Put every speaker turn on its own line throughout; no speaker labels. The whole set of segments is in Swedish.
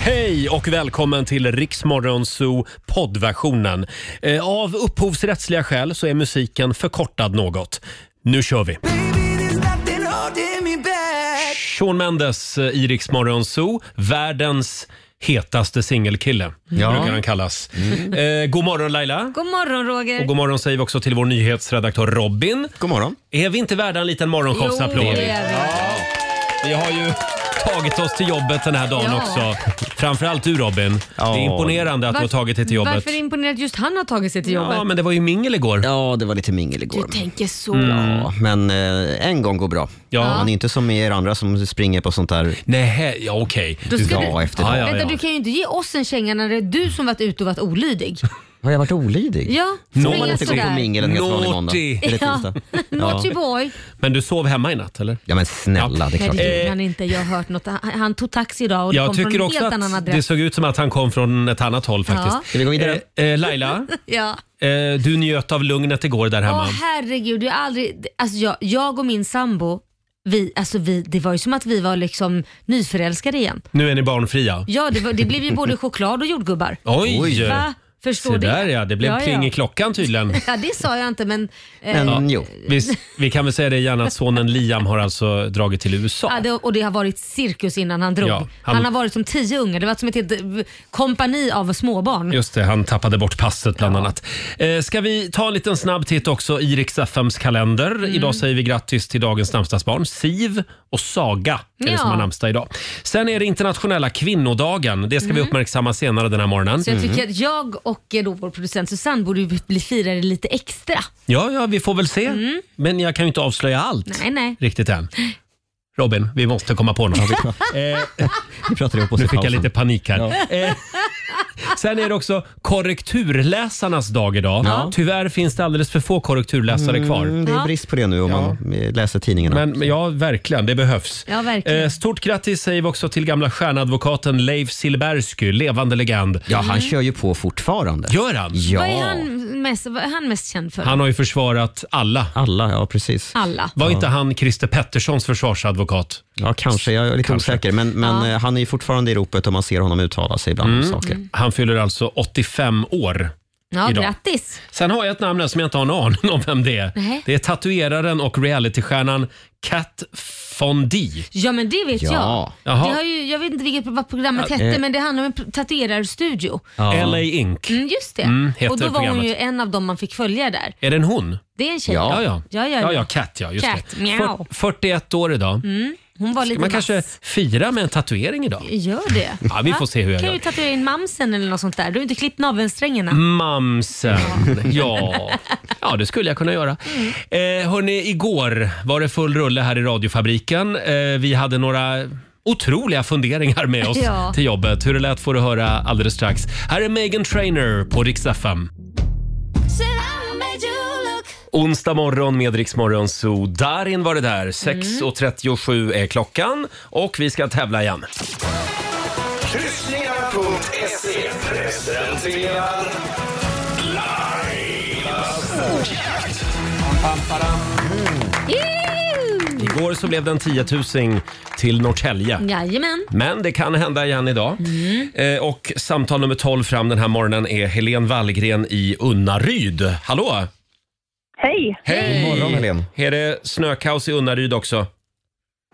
Hej och välkommen till Riksmorgonzoo poddversionen. Eh, Av upphovsrättsliga skäl så är musiken förkortad något. Nu kör vi! Shawn Mendes eh, i Riksmorgonzoo, världens hetaste singelkille,
Ja. Mm.
brukar han kallas. Eh, god morgon Laila!
God morgon Roger.
Och god morgon säger vi också till vår nyhetsredaktör Robin.
God morgon.
Är vi inte värda en liten
Jo,
morgonshowsapplåd?
det är vi.
Vi har ju tagit oss till jobbet den här dagen
Ja.
också. Framförallt du Robin. Det är imponerande att du har
Varf-
tagit dig till jobbet.
Varför imponerar att just han har tagit sig till jobbet?
Ja, men det var ju mingel igår. Ja.
Ja, det var lite mingel
Du
igår. Mm.
tänker så.
Mm.
Ja, men eh, en gång går bra. Man är inte som er andra som springer på sånt där
Nej, ja okej.
Då ska
dag
du...
efter
Ja,
dag.
ja.
Vänta, du kan ju inte ge oss en känga när det är du som varit ute och varit olydig.
Har jag varit olydig?
Ja,
Får
springa
man inte gå på
sådär.
mingel en helt vanlig
Naughty.
måndag? Eller tisdag? Ja.
Naughty boy.
Men du sov hemma i natt eller?
ja, men snälla, det
Nej,
är klart.
det gjorde
Eh.
han inte. Jag har hört något. Han, han tog taxi idag och det kom
Jag
från
tycker
en
också
helt annan
att det
adress.
såg ut som att han kom från ett annat håll
Ja.
faktiskt.
Ska vi gå vidare?
Eh, eh, Laila,
Ja.
eh, du njöt av lugnet igår där
Åh
hemma.
herregud, jag har aldrig... Alltså jag, jag och min sambo, vi, alltså vi, det var ju som att vi var liksom nyförälskade igen.
Nu är ni barnfria.
Ja, det, var, det blev ju både choklad och jordgubbar.
Oj!
Oj.
Va? Förstår
Se
du?
där ja, det blev
Ja, ja.
pling i klockan tydligen.
Ja, det sa jag inte men... Eh,
Men jo,
Vi, vi kan väl säga det igen att sonen Liam har alltså dragit till USA.
ja, det, och det har varit cirkus innan han drog.
Ja, han-
han... har varit som tio ungar. Det var som ett helt eh, kompani av småbarn.
Just det, han tappade bort passet bland annat. Eh, ska vi ta en liten snabb titt också i Rix FMs kalender. Idag säger vi grattis till dagens namnsdagsbarn Siv och Saga är det
Ja.
som har namnsdag idag. Sen är det internationella kvinnodagen. Det ska vi uppmärksamma senare den här morgonen. Mm.
Så jag tycker att jag och eh, då vår producent Susanne borde ju bli firade lite extra.
Ja, ja, vi får väl se. Men jag kan ju inte avslöja allt
Nej, nej.
riktigt än. Robin, vi måste komma på något.
vi pratar ihop oss
Nu
i
fick jag
pausen.
lite panik här.
Ja.
Eh, sen är det också korrekturläsarnas dag idag.
Ja.
Tyvärr finns det alldeles för få korrekturläsare kvar.
Mm, Det är
Ja.
brist på det nu om man eh, läser tidningarna.
Men men ja, verkligen. Det behövs.
Ja, verkligen.
Eh, Stort grattis säger vi också till gamla stjärnadvokaten Leif Silbersky, levande legend.
Ja, han kör ju på fortfarande.
Gör han?
Ja.
Mm. Vad, är han mest, vad är han mest känd för?
Han har ju försvarat alla.
Alla, ja precis.
Alla.
Var inte han Christer Petterssons försvarsadvokat?
Ja, kanske. Jag är lite osäker. Men, men eh, han är ju fortfarande i ropet och man ser honom uttala sig ibland om saker.
Mm. Han fyller alltså 85 år.
Ja,
idag.
grattis.
Sen har jag ett namn här som jag inte har en aning om vem det är.
Nej.
Det är tatueraren och realitystjärnan Kat Von D.
Ja, men det vet
Ja.
jag.
Jaha.
Det har ju, jag vet inte vilket, vad programmet hette,
eh.
men det handlar om en tatuerarstudio.
LA Inc.
Mm, just det.
Mm, heter
och då var hon
programmet.
ju en av dem man fick följa där.
Är det en hon?
Det är en tjej.
Ja.
ja.
Ja, ja, ja.
Kat, ja. Just
Kat,
det.
mjau.
Fyrt- 41 år idag.
Mm. Hon var lite
Man
vass.
kanske firar med en tatuering idag.
Gör det.
Ja, vi
Va?
får se hur jag
kan
gör.
ju tatuera in mamsen eller något sånt där. Du har inte klippt navelsträngarna.
Mm. Mamsen. Ja. ja, det skulle jag kunna göra. Eh, hörni, igår var det full rulle här i radiofabriken. Eh, vi hade några otroliga funderingar med oss
Ja.
till jobbet. Hur det lät får du höra alldeles strax. Här är Megan Trainer på Rix FM. Onsdag morgon med Rix Morgon Zoo. Darin var det där. 6.37 är klockan och vi ska tävla igen. E.
Kryssningar.se presenterar
Eww!
Igår så blev det en tiotusing till Norrtälje.
Jajamän.
Men det kan hända igen idag. Eh, och samtal nummer 12 fram den här morgonen är Helen Wallgren i Unnaryd. Hallå!
Hej!
Hej!
God morgon, Helen.
Är det snökaos i Unnaryd också?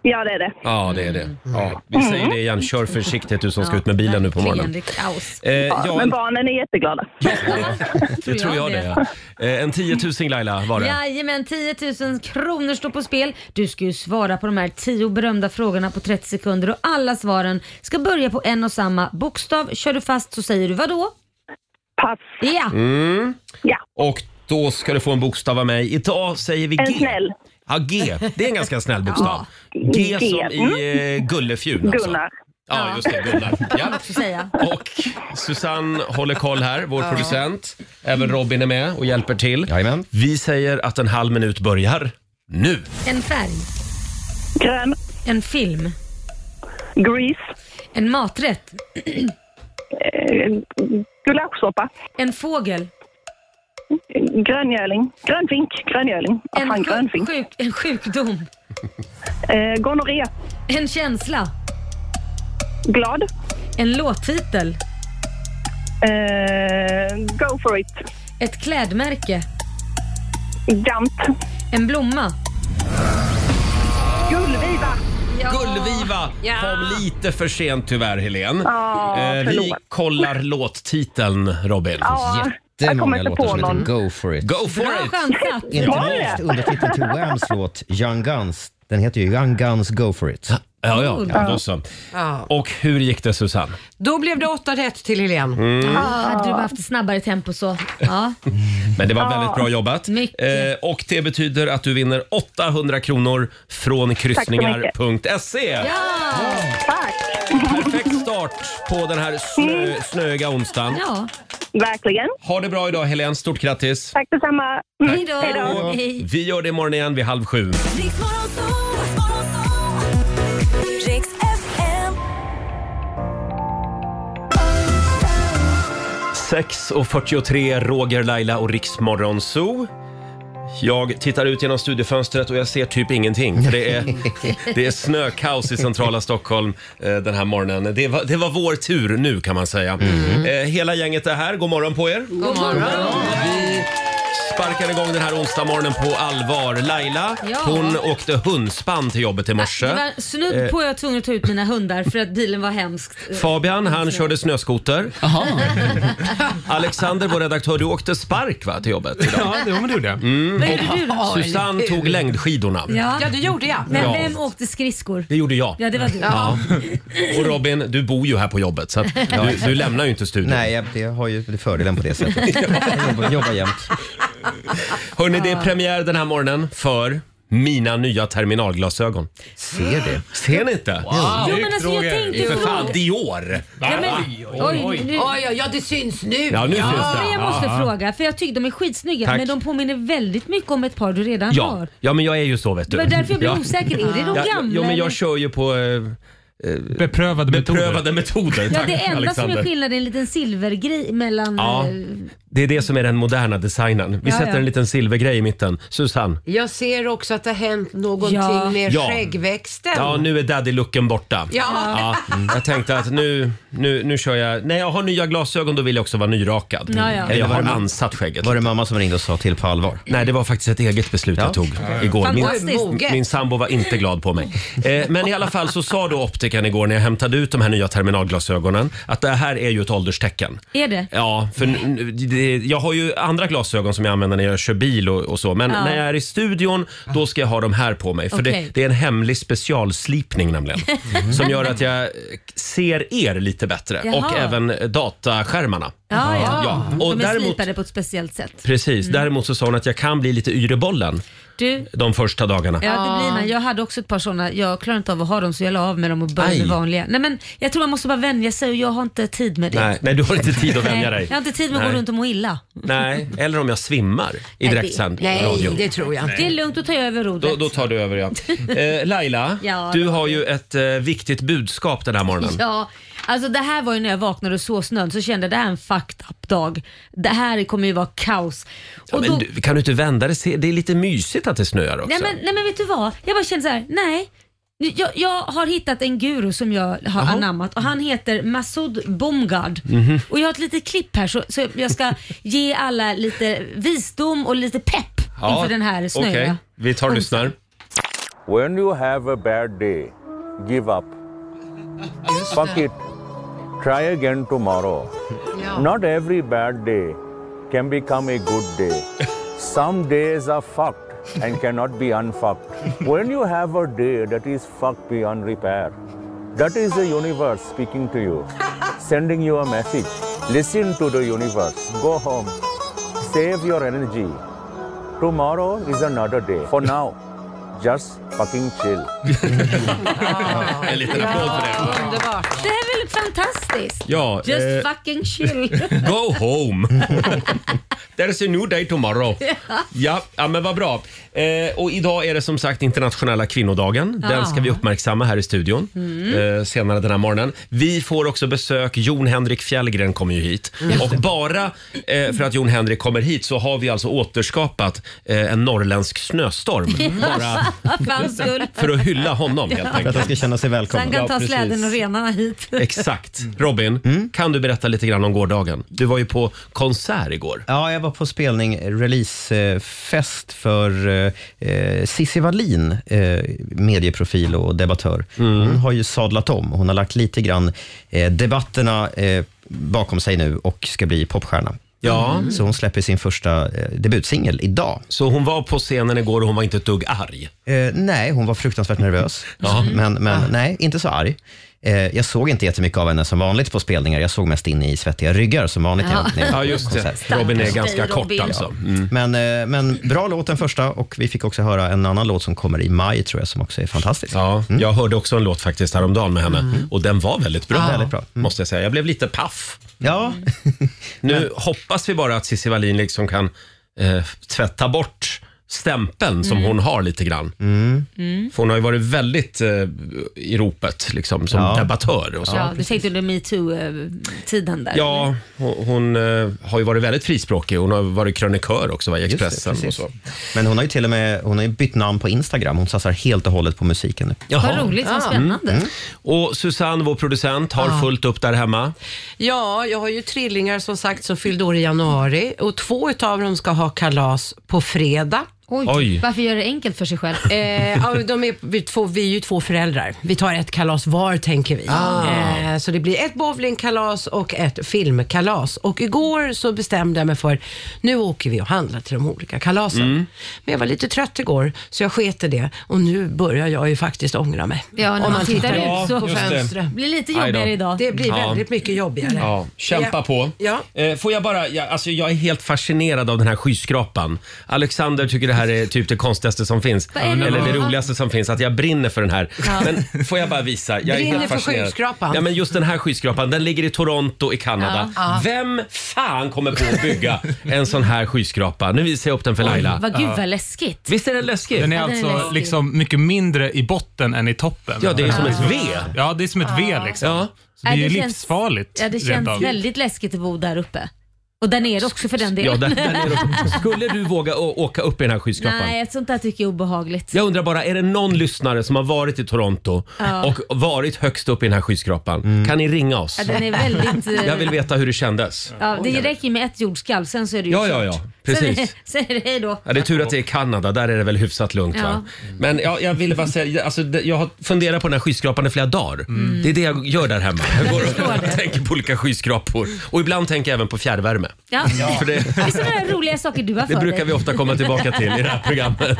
Ja, det är det.
Ja, det är
Mm.
det. Ja, vi säger det igen. Kör försiktigt du som ska ut med bilen nu på morgonen.
Det är kaos.
Eh,
Ja,
ja,
men barnen är jätteglada.
det tror jag det. ja. Eh, en tiotusing Laila var det.
Jajamän, 10 000 kronor står på spel. Du ska ju svara på de här 10 berömda frågorna på 30 sekunder och alla svaren ska börja på en och samma bokstav. Kör du fast så säger du vad då?
Pass.
Ja,
Mm. Och då ska du få en bokstav av mig. Idag säger vi G.
En snäll.
Ja, G. Det är en ganska snäll bokstav. G som i eh, gullefjun alltså.
Gunnar.
Ja, just det. Gunnar. Ja.
också säga.
Och Susanne håller koll här, vår producent. Även Robin är med och hjälper till.
Jajamän.
Vi säger att en halv minut börjar nu.
En färg,
Grön.
en film,
Grease.
en maträtt,
Eh, gulaschsoppa.
en fågel,
Gröngöling. Grönfink. Gröngöling. Vad
en,
fan,
sjuk,
grönfink.
sjuk, en sjukdom,
Eh, gonorré.
en känsla,
Glad.
En låttitel.
Eh, go for it.
Ett klädmärke.
Gant.
En blomma.
Gullviva.
Gullviva
Ja.
kom lite för sent tyvärr, Helen.
Ja,
Eh, vi
förlåt.
kollar låttiteln, Robin.
Ja, jag kommer
Jättemånga
inte
låtar
på
som heter
någon.
Go for it.
Go for
Bra
it!
chansat.
Var
Inte
det?
minst undertiteln till Whams låt Young Guns. Den heter ju Young Guns Go for it.
Ja, ja, ja, då så.
Ja.
Och hur gick det Susanne?
Då blev det åtta rätt till Helene.
Mm.
Ah, hade du bara haft ett snabbare tempo så. Ja.
Men det var väldigt bra jobbat. Eh,
Mycket.
och det betyder att du vinner 800 kronor från kryssningar.se.
Ja.
Tack.
E. Perfekt start på den här
Mm.
snö, snöiga onsdagen.
ja.
Verkligen.
Ha det bra idag Helen, stort grattis!
Tack detsamma. Mm.
Hej då. Hej.
Vi gör det imorgon igen vid halv sju.
Riks FM.
6.43, Roger, Laila och Riksmorgon Zoo. Jag tittar ut genom studiofönstret och jag ser typ ingenting. För det, är, det är snökaos i centrala Stockholm eh, den här morgonen. Det var, det var vår tur nu kan man säga.
Mm.
Eh, hela gänget är här. God morgon på er.
God morgon.
Vi sparkar igång den här onsdag på allvar. Laila,
Ja.
hon åkte hundspann till jobbet i morse. Eh,
Det var snudd på jag var tvungen att ta ut mina hundar för att bilen var hemskt.
Fabian, han körde snöskoter. Alexander, vår redaktör, du åkte spark va, till jobbet idag? Mm.
Ja, det, ja, men det gjorde jag.
Vad gjorde du då?
Susanne tog längdskidorna.
Ja.
Ja, det gjorde jag.
Men
Ja.
vem åkte skridskor?
Det gjorde jag.
Ja, det var du.
Ja. Och Robin, du bor ju här på jobbet så att du, du lämnar ju inte studion.
Nej, jag, det har ju fördelen på det sättet. Jag jobbar, jobbar jämt.
Hörni, det är premiär den här morgonen för mina nya terminalglasögon.
Ser det.
Ser ni inte?
Jo, men alltså, jag tänkte ju...
För fan, Dior!
Ja, men, oj, nu,
Oj, oj, ja, det syns nu.
Ja, nu syns
Men
det.
jag måste fråga, för jag tycker de är skitsnygga
Tack.
men de påminner väldigt mycket om ett par du redan
Ja,
har.
ja, men jag är ju så vet du.
Det var därför jag blev
Ja.
osäker. Är det de
Ja,
gamla?
ja, men
eller?
jag kör ju på eh,
Beprövade metoder.
beprövade metoder.
ja,
Tack,
det enda som är
Alexander.
skillnaden är en liten silvergrej mellan...
Ja,
eh,
det är det som är den moderna designen. Vi
Ja,
sätter
ja.
en liten silvergrej i mitten. Susanne,
Jag ser också att det har hänt någonting
Ja.
med
Ja.
skäggväxten.
ja nu är daddy-looken borta.
Ja.
Ja,
Mm.
jag tänkte att nu, nu, nu kör jag... När jag har nya glasögon då vill jag också vara nyrakad.
Ja, ja.
Eller jag har
Var det-
ansatt skägget.
Var det mamma som ringde och sa till på allvar?
Nej, det var faktiskt ett eget beslut jag tog igår.
Fantastiskt.
Min,
Moget.
min sambo var inte glad på mig. Eh, men i alla fall så sa då optikern igår när jag hämtade ut de här nya terminalglasögonen att det här är ju ett ålderstecken.
Är det?
Ja, för n- n- det, jag har ju andra glasögon som jag använder när jag kör bil och, och så. Men
Ja.
när jag är i studion, då ska jag ha de här på mig. För
Okej.
det, det är en hemlig specialslipning nämligen. Mm-hmm. Som gör att jag ser er lite bättre.
Jaha.
Och även dataskärmarna.
Ja, ja.
Ja, och
de är
däremot-
slipade på ett speciellt sätt.
Precis, däremot så sa hon att jag kan bli lite yr i bollen
Du,
de första dagarna.
ja, det blir man. Jag hade också ett par sådana. Jag klarar inte av att ha dem så jag la av med dem och började med
Aj.
vanliga. Nej, men jag tror man måste bara vänja sig och jag har inte tid med det.
Nej, nej, du har inte tid att
Nej,
vänja dig.
jag har inte tid med att gå
Nej.
runt och må illa.
Nej, eller om jag svimmar i direktsänd radio.
Nej, det tror jag
Det är
inte.
lugnt att ta över rodret.
Då, då tar du över ja. Eh, Laila,
Ja,
du
det-
har ju ett eh, viktigt budskap den här morgonen.
Ja, alltså det här var ju när jag vaknade och såg snön så kände jag det här är en fucked up dag. Det här kommer ju vara kaos.
Ja,
Och
men
då,
du, kan du inte vända det? Se- Det är lite mysigt att det snöar också.
nej, men, nej men vet du vad? Jag bara kände så här: nej. Jag, jag har hittat en guru som jag har anammat och han heter Masoud Bomgard.
Mhm.
Och jag har ett litet klipp här så, så jag ska ge alla lite visdom och lite pepp
Ja,
inför den här snöiga.
Okej, vi tar och lyssnar.
When you have a bad day, give up. Fuck it. Try again tomorrow. Not every bad day can become a good day. Some days are fucked and cannot be unfucked. When you have a day that is fucked beyond repair, that is the universe speaking to you, sending you a message. Listen to the universe. Go home. Save your energy. Tomorrow is another day. For now, just fucking chill.
En liten applåd för det.
Underbart.
Det här är väl fantastiskt?
Ja,
Just
eh,
fucking chill.
go home. There's a new day tomorrow. Ja, ja men vad bra. Eh, och idag är det som sagt internationella kvinnodagen. Den
Ja.
ska vi uppmärksamma här i studion
Mm.
eh, senare den här morgonen. Vi får också besök. Jon Henrik Fjällgren kommer ju hit.
Mm.
Och bara eh, för att Jon Henrik kommer hit så har vi alltså återskapat eh, en norrländsk snöstorm. Bara
För hans skull.
för att hylla honom helt
För att han
enkelt.
ska känna sig
Så han
välkommen.
Ja,
kan ta
precis.
släden och Mm. renarna hit.
Exakt. Robin, kan du berätta lite grann om gårdagen? Du var ju på konsert igår.
Ja, jag var på spelning, eh, releasefest för eh, Cissi Wallin, eh, medieprofil och debattör.
Mm.
Hon har ju sadlat om. Hon har lagt lite grann eh, debatterna eh, bakom sig nu och ska bli popstjärna.
Ja.
Så hon släpper sin första eh, debutsingel idag.
Så hon var på scenen igår och hon var inte ett dugg arg.
Eh, nej, hon var fruktansvärt nervös. Mm. Men, men nej, inte så arg. Eh, jag såg inte jättemycket av henne som vanligt på spelningar. Jag såg mest in i svettiga ryggar som vanligt. när jag- när jag var
Ja,
på
just
konsert.
det. Robin är
Stackars
ganska
dig,
kort
Robin.
alltså. Mm.
Men, eh, men bra låt den första och vi fick också höra en annan låt som kommer i maj tror jag som också är fantastisk. Mm.
Ja, jag hörde också en låt faktiskt häromdagen med henne och den var väldigt bra.
Ja. Väldigt bra. Mm.
Måste jag säga. Jag blev lite paff.
Ja.
Nu hoppas vi bara att Cissi Wallin liksom kan eh, tvätta bort stämpeln
Mm.
som hon har lite grann.
Mm.
För hon har ju varit väldigt eh, i ropet liksom, som
Ja.
debattör och så.
Ja,
Ja.
du tänkte under metoo-tiden där.
hon, hon eh, har ju varit väldigt frispråkig. Hon har varit krönikör också va, i
Just det,
Expressen och
precis.
så.
Men hon har ju till och med hon har ju bytt namn på Instagram. Hon satsar helt och hållet på musiken nu.
Vad roligt, vad spännande.
Mm. Och Susanne, vår producent, har fullt upp där hemma.
Ja, jag har ju trillingar som sagt som fyllde år i januari och två utav dem ska ha kalas på fredag.
Oj,
Oj.
varför gör det enkelt för sig själv?
Eh, ja, de är, vi, två, vi är ju två föräldrar. Vi tar ett kalas var tänker vi. Eh, så det blir ett bowlingkalas och ett filmkalas. Och igår så bestämde jag mig för nu åker vi och handlar till de olika kalasen.
Mm.
Men jag var lite trött igår så jag sket i det och nu börjar jag ju faktiskt ångra mig.
Ja, när man tittar ut
Ja,
så
på
just det.
fönstret.
Det blir lite
Aj då.
jobbigare idag.
Det blir
Ja.
väldigt mycket jobbigare.
Ja, kämpa
Ja.
på.
Ja.
Eh, får jag bara, jag, alltså jag är helt fascinerad av den här skyskrapan. Alexander tycker det här är typ det konstigaste som finns.
Vad är det?
Eller det
Ja.
roligaste som finns, att jag brinner för den här. Men får jag bara visa? Jag är
Brinner
helt
för
fascinerad.
skyskrapan?
Ja, men just den här skyskrapan, den ligger i Toronto i Kanada. Vem fan kommer på att bygga en sån här skyskrapa? Nu visar jag upp den för Laila.
Vad gud vad läskigt.
Visst är den läskig?
Den är
Ja, den är
alltså
läskig.
liksom mycket mindre i botten än i toppen.
Ja, det är som ett V.
Ja, det är som ett V liksom.
Ja.
Så det är
Ja,
ju
det känns-
livsfarligt.
Ja, det
rent
känns
av.
väldigt läskigt att bo där uppe. Och där nere också för den
Ja,
delen.
där, där är de. Skulle du våga å- åka upp i den här skyskrapan?
Nej, ett sånt där tycker jag är obehagligt.
Jag undrar bara, är det någon lyssnare som har varit i Toronto och varit högst upp i den här skyskrapan? Kan ni ringa oss?
Ja, den är väldigt... eh,
Jag vill veta hur det kändes.
ja, det räcker ju med ett jordskalv, sen så är det ju
Ja, ja,
kört.
ja. Precis.
Sen är, sen är det hej då.
Ja, det är tur att det är Kanada, där är det väl hyfsat lugnt va? Men ja, jag ville bara säga, alltså, det- jag har funderat på den här skyskrapan i flera dagar.
Mm.
Det är det jag gör där hemma. Jag går och tänker på olika skyskrapor. Och ibland tänker jag även på fjärrvärme.
Ja.
För det,
Det är sådana roliga saker du har
det
för
brukar
dig.
vi ofta komma tillbaka till i det här programmet.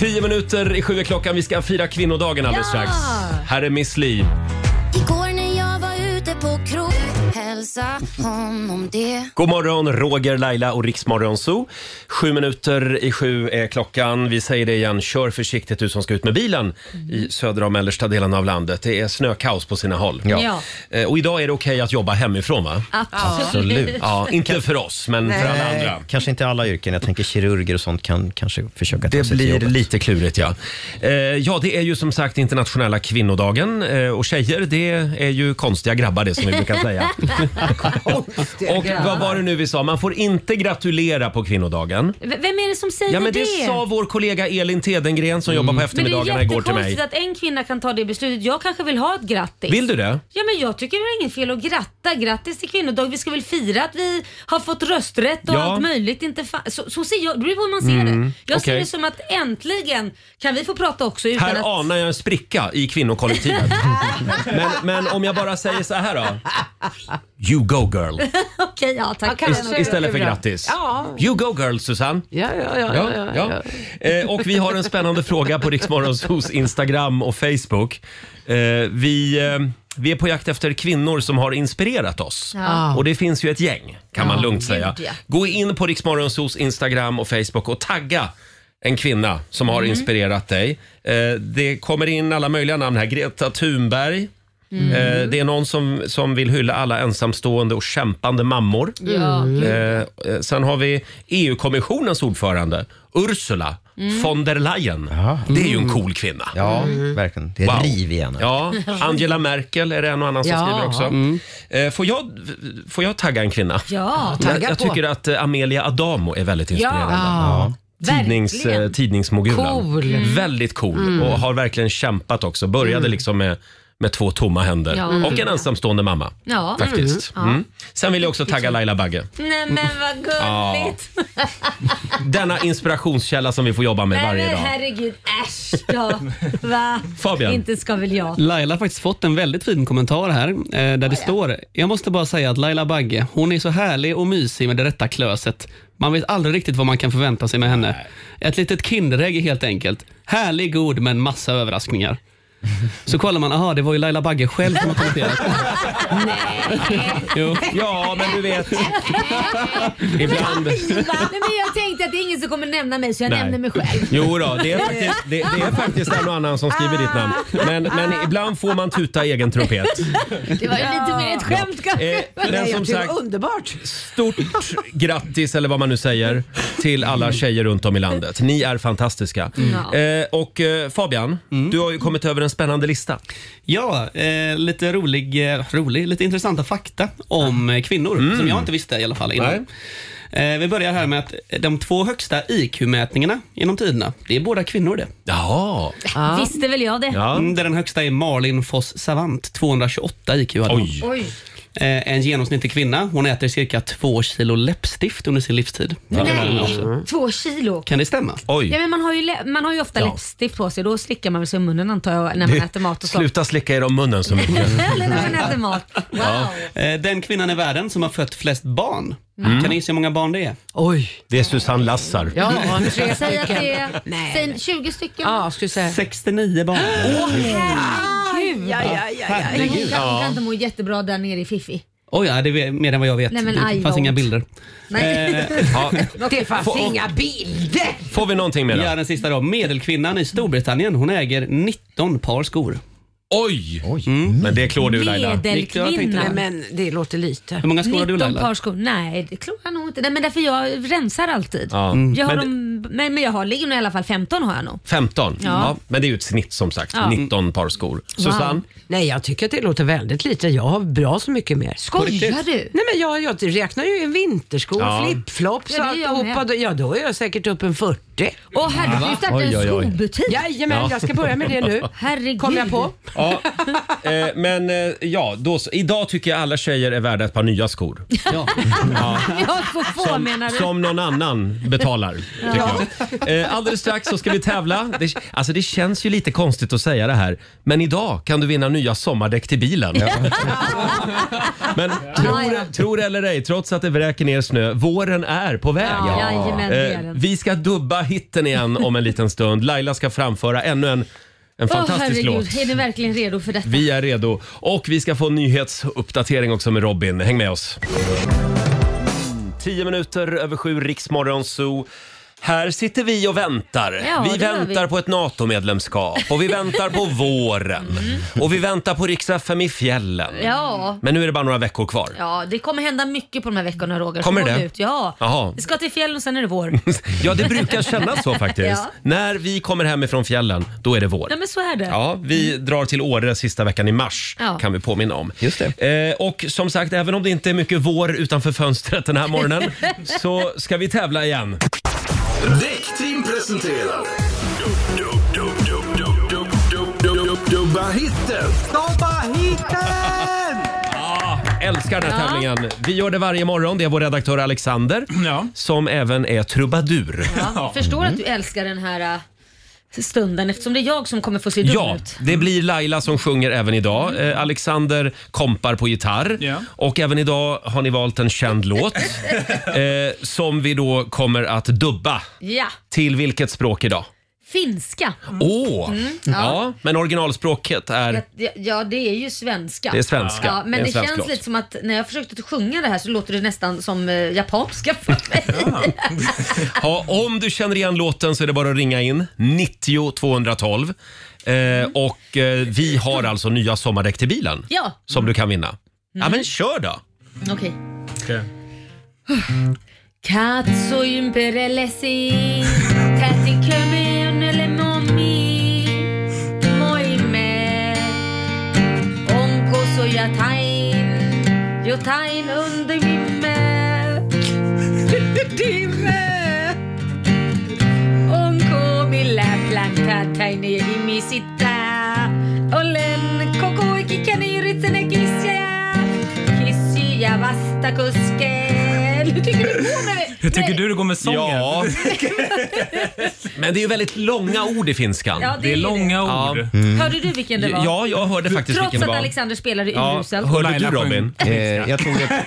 Tio minuter i sju är klockan, vi ska fira kvinnodagen alldeles strax.
Ja.
Här är Miss Li.
Igår när jag var ute på krog Hälsa honom det
God morgon, Roger, Laila och Riksmorgon Zoo. Sju minuter i sju är klockan. Vi säger det igen, kör försiktigt du som ska ut med bilen i södra och mellersta delen av landet. Det är snökaos på sina håll.
Ja.
Ja,
Eh, Och idag är det okej att jobba hemifrån va?
absolut.
Ja, inte för oss, men för alla andra.
Kanske inte alla yrken. Jag tänker kirurger och sånt kan kanske försöka ta
Det
sig till
blir
jobbet.
lite klurigt ja. Eh, ja, det är ju som sagt internationella kvinnodagen eh, och tjejer det är ju konstiga grabbar det som vi brukar säga. och vad var det nu vi sa? Man får inte gratulera på kvinnodagen.
V- Vem är det som säger
Ja men
det? Mm.
det sa vår kollega Elin Tedengren som
Mm.
jobbar på
men det är
eftermiddagarna igår till mig.
jättekonstigt att en kvinna kan ta det beslutet. Jag kanske vill ha ett grattis.
Vill du det?
Ja men jag tycker det är inget fel att gratta. Grattis till kvinnodag. Vi ska väl fira att vi har fått rösträtt och
Ja. Mm,
allt möjligt. Inte fa- så, så ser jag, det beror på hur man ser det. Jag ser
okej.
det som att äntligen kan vi få prata också utan att...
Här anar jag en spricka i kvinnokollektivet. men, men om jag bara säger så här då. You go girl.
Okej, ja tack.
Ja,
Ist- istället för grattis.
Ja.
You go girl Susanne.
Ja, ja, ja, ja, ja, ja.
Eh, och vi har en spännande fråga på Riksmorgonsos Instagram och Facebook. Eh, vi, eh, vi är på jakt efter kvinnor som har inspirerat oss. Och det finns ju ett gäng, kan man lugnt säga.
gud, ja.
Gå in på Riksmorgonsos Instagram och Facebook och tagga en kvinna
Mm.
som har inspirerat dig. Eh, det kommer in alla möjliga namn här. Greta Thunberg.
Mm.
Eh, det är någon som, som vill hylla alla ensamstående och kämpande mammor.
Ja,
Mm.
Eh, eh, sen har vi EU-kommissionens ordförande, Ursula
Mm.
von der Leyen. Det är ju en cool kvinna.
Mm. Ja, verkligen. Det är
Wow.
riv i henne. Mm.
Ja, Angela Merkel är det en och annan som
Ja.
skriver också. Eh, får, jag, får jag tagga en kvinna?
ja,
Jag,
Tagga
jag
på.
tycker att eh, Amelia Adamo är väldigt inspirerande.
Ja.
Tidnings, eh,
verkligen.
tidningsmogulen. Mm.
Cool. Mm.
Väldigt cool och har verkligen kämpat också. Började liksom med, med två tomma händer
Ja.
och
Mm.
en ensamstående mamma.
Ja.
Faktiskt. Mm. Sen vill jag också tagga Laila Bagge.
Nej men vad gulligt.
Denna inspirationskälla som vi får jobba med
Nej
varje
men
dag.
herregud, äsch då. Va?
Fabian.
Inte ska väl jag.
Laila har faktiskt fått en väldigt fin kommentar här, eh, där det står “Jag måste bara säga att Laila Bagge, hon är så härlig och mysig med det rätta klöset. Man vet aldrig riktigt vad man kan förvänta sig med henne. Ett litet Kinderägg helt enkelt. Härlig, god, men massa överraskningar.” Så kollar man, aha, det var ju Laila Bagge själv som har kommenterat. jo.
Ja, men du vet. Ibland.
Nej, men jag tänkte att det är ingen som kommer nämna mig så jag
Nej.
nämner mig själv.
Jo då, det är faktiskt, det, det är faktiskt en och annan som skriver ditt namn. Men, men ibland får man tuta i egen trumpet.
Det var ju lite mer ett skämt kanske.
Eh, men
Nej,
som
jag tycker
sagt,
det var underbart.
stort grattis eller vad man nu säger till alla tjejer runt om i landet. Ni är fantastiska.
Ja.
Eh, och eh, Fabian, du har ju kommit över en spännande lista.
Mm. Ja, eh, lite rolig, eh, rolig, lite intressanta fakta om eh, kvinnor som jag inte visste i alla fall innan. Eh, vi börjar här med att de två högsta IQ-mätningarna genom tiderna, det är båda kvinnor det.
Jaha.
Visste väl jag det.
Ja.
Mm, där den högsta är Malin Foss Savant, 228 IQ hade hon.
Oj.
Oj.
Eh, En genomsnittlig kvinna, hon äter cirka två kilo läppstift under sin livstid.
Nej, två kilo.
Kan det stämma?
Ja,
Mm. Oj.
men man, har ju, lä- man har ju ofta läppstift på sig, då slickar man väl sig i munnen antar jag när man äter mat och så.
Sluta slicka er om munnen så mycket.
Eller när man äter mat. Wow.
Eh, Den kvinnan i världen som har fött flest barn, kan ni gissa hur många barn det är?
Oj.
Mm. Det är Susanne Lassar.
Ja, tre
Säg att
stycken.
det är
Nej.
säg 20 stycken.
Ja, skulle säga.
69 barn.
Herregud.
Ja, ja, ja, ja.
Men hon kan, kan inte må jättebra där nere i Fifi.
Oj, ja, det är mer än vad jag vet.
Nej, men aj
det fanns
då.
inga bilder. Eh,
Nej.
Eh, Ja.
Det fanns inga bilder.
Får vi någonting med
Ja,
det?
den sista då. Medelkvinnan i Storbritannien, hon äger 19 par skor.
Oj! Mm.
Oj.
Mm.
Men det klår du Laila.
Victor, jag
Medelkvinna.
tänkte
Men det låter lite.
Hur många skor har du
19
Laila?
par skor. Nej, det klarar jag nog inte. Nej, men därför jag rensar alltid.
Ja. Mm.
Jag har
Men-
dem, men, men jag har, ligger nog i alla fall 15 har jag nog.
15. Ja.
Ja.
men det är ju ett snitt som sagt.
Ja.
19 par skor. Susanne?
Nej, jag tycker att det låter väldigt lite. Jag har bra så mycket mer.
Skojar du?
Nej men jag, jag räknar ju en vinterskor,
Ja.
flipflops
Ja,
och
det gör jag
alltihopa.
med.
Då- Ja, då är jag säkert upp en 40.
Åh herregud, du startade
Ah, Oj, oj, oj.
en skobutik.
Jajamän, jag ska börja med det nu.
Herregud.
Kom jag på.
Ja, eh, men eh, ja, då, så- idag tycker jag alla tjejer är värda ett par nya skor.
Ja.
Jag får få menar du?
Som någon annan betalar. Tycker jag. Eh, alldeles strax så ska vi tävla. Det, alltså det känns ju lite konstigt att säga det här, men idag kan du vinna nya sommardäck till bilen. men tror, tror eller ej, trots att det vräker ner snö, våren är på väg.
Ja, jajamän, det är
Eh,
den.
vi ska dubba hitten igen om en liten stund. Laila ska framföra ännu en, en
Åh
fantastisk
herregud,
låt.
är ni verkligen redo för detta?
Vi är redo och vi ska få en nyhetsuppdatering också med Robin. Häng med oss. 10 minuter över sju, Riksmorgon Zoo. Här sitter vi och väntar.
Ja,
vi
det gör
väntar
vi.
på ett NATO-medlemskap och vi väntar på våren och vi väntar på riks FM i fjällen.
Mm. Ja.
Men nu är det bara några veckor kvar.
Ja, det kommer hända mycket på de här veckorna Roger.
Kommer
Så gå
det?
Ut. Ja.
Jaha.
Vi ska till fjällen och sen är det vår.
Ja, det brukar kännas så faktiskt.
Ja.
När vi kommer hemifrån fjällen, då är det vår.
Nej men så är det.
Ja, vi drar till Åre sista veckan i mars
Ja.
kan vi påminna om.
Just
Eh, och som sagt, även om det inte är mycket vår utanför fönstret den här morgonen så ska vi tävla igen.
Däckteam presenterar... Dub, dub, dub, dub, dub, dub, dub, dub, dub, Dubba hitten!
Älskar den här tävlingen. Vi gör det varje morgon. Det är vår redaktör Alexander
Ja.
som även är trubadur.
Ja, jag Förstår att du älskar den här äh, stunden eftersom det är jag som kommer få se dum
Ja,
ut. Mm.
det blir Laila som sjunger även idag. Eh, Alexander kompar på gitarr.
Ja.
Och även idag har ni valt en känd låt eh, som vi då kommer att dubba.
Ja,
Till vilket språk idag?
finska.
Åh!
Mm,
ja. men originalspråket är,
Ja, Ja, det är ju svenska.
det är svenska.
Ja, men
är en
det
svensk
känns
låt.
lite som att när jag försökte att sjunga det här så låter det nästan som eh, japanska för mig.
Ja, om du känner igen låten så är det bara att ringa in. 90 212. Eh, och eh, vi har alltså nya sommardäck till bilen
Mm. Ja, Mm.
som du kan vinna. Ja, men kör då!
okej. Katsoin perellesi, tätin klöme onnelle mommi, moimme. Onko so jotain, jotain undervimme, timme. Onko millä pläntä täine imisittää, olen koko ikäni yrittänyt kissiä. Kissiä vasta koskeen. Hur tycker du går med
Hur tycker du det går med sången?
Ja. Men det är ju väldigt långa ord i finskan.
Ja, det Det är är ju långa det.
ord.
Hörde du vilken det var?
Mm. Ja, jag hörde faktiskt
Trots
vilken det
att
var.
Alexander spelade
Ja,
uruselt.
hörde du Robin?
Eh, jag, tog det,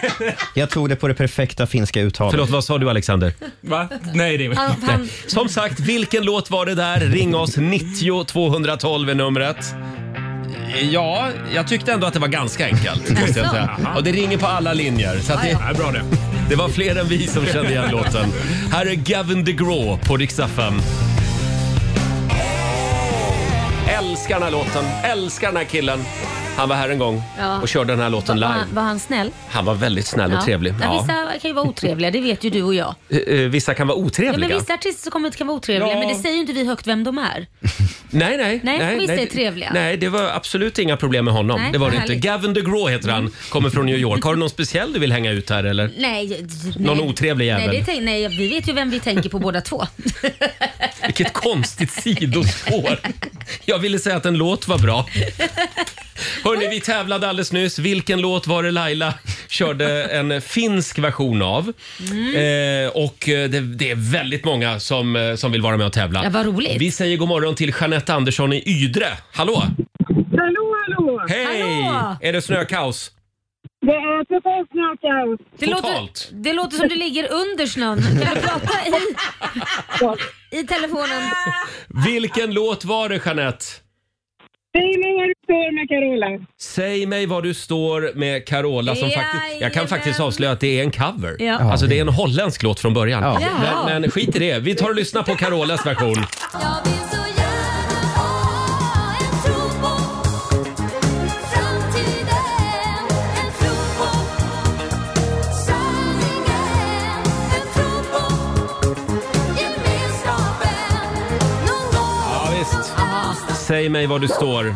jag tog det på det perfekta finska uttalet.
Förlåt, vad sa du Alexander?
Va? Nej, det är
Han- han-
Nej. Som sagt, vilken låt var det där? Ring oss, 90 212 är numret. Ja, jag tyckte ändå att det var ganska enkelt. Måste jag säga. Och det ringer på alla linjer. Så att det,
Ja, bra det.
det var fler än vi som kände igen låten. Här är Gavin DeGraw på riksdag 5. Älskar den här låten, älskar den här killen. Han var här en gång
Ja.
och körde den här låten
Var
live.
han, var han snäll?
Han var väldigt snäll och trevlig.
Ja. Vissa kan ju vara otrevliga, det vet ju du och jag.
Eh, eh, Vissa kan vara
Ja, men
otrevliga.
vissa artister som kommer ut kan vara otrevliga,
Ja.
men det säger ju inte vi högt vem de är.
Nej, nej.
Nej, vissa är
det-
trevliga.
Nej, det var absolut inga problem med honom.
Nej,
det var det
vad
inte.
härligt.
Gavin
Mm.
DeGraw heter han, kommer från New York. Har du någon speciell du vill hänga ut här eller?
Nej, d- nej.
Någon otrevlig jävel.
Nej, det tänk, nej, vi vet ju vem vi tänker på båda två.
Vilket konstigt sidospår. Jag ville säga att en låt var bra. Hörni, vi tävlade alldeles nyss. Vilken låt var det Laila körde en finsk version av?
Mm.
Mm.
Eh, och eh, det, det är väldigt många som, eh, som vill vara med och tävla.
Ja, vad roligt.
Vi säger god morgon till Jeanette Andersson i Ydre. Hallå!
Hallå, hallå!
Hej!
Hallå!
Är det snökaos?
Det är totalt snökaos.
Det
Totalt.
låter, det låter som du ligger under snön. Kan du prata i, i telefonen?
Vilken låt var det Jeanette?
Säg mig var du står med Carola.
Säg mig var du står med Carola som faktiskt... Jag kan
Jajamän.
faktiskt avslöja att det är en cover.
Ja.
Alltså det är en holländsk låt från början.
Ja.
Jaha.
Men, men skit i det. Vi tar och lyssnar på Carolas version.
Jag vill så gärna ha en tro på framtiden, en tro på sanningen, en tro på gemenskapen någon gång.
Ja, visst. Säg mig var du står.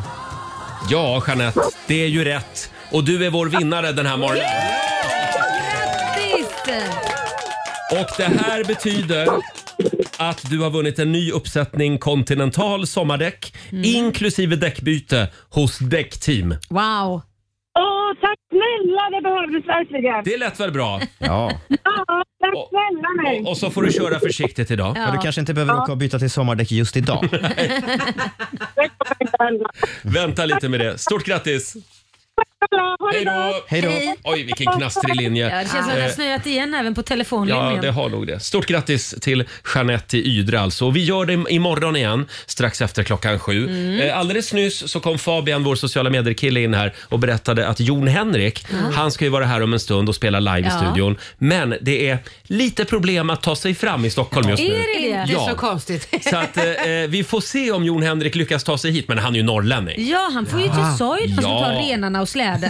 Ja, Jeanette, det är ju rätt. Och du är vår vinnare den här morgonen.
Grattis!
Och det här betyder att du har vunnit en ny uppsättning Continental sommardäck inklusive däckbyte hos Däckteam.
Wow.
Åh, tack snälla! Det behövdes verkligen.
Det lät väl bra?
Ja.
Ja, tack
Och-
snälla mig.
Och, och så får du köra försiktigt idag.
Ja, du kanske inte behöver åka och byta till sommardäck just idag.
Tack snälla.
Vänta lite med det. Stort grattis!
Ha det
Hej
bra!
då!
Hej då.
Oj, vilken knastrig
Ja,
linje.
det känns som att det har
Eh,
snöat igen även på
Ja,
telefonlinjen.
det har nog det. Stort grattis till Jeanette i Ydre alltså. Och vi gör det imorgon igen, strax efter klockan sju.
Mm.
Eh, Alldeles nyss så kom Fabian, vår sociala medier-kille, in här och berättade att Jon Henrik, han ska ju vara här om en stund och spela live i
Ja.
studion. Men det är lite problem att ta sig fram i Stockholm just nu.
Är det det?
Det är
Ja.
så konstigt.
Så att eh, eh, vi får se om Jon Henrik lyckas ta sig hit, men han är ju norrlänning.
Ja, han får ju till sorg när han
Ja.
ska ta renarna och släden. Då har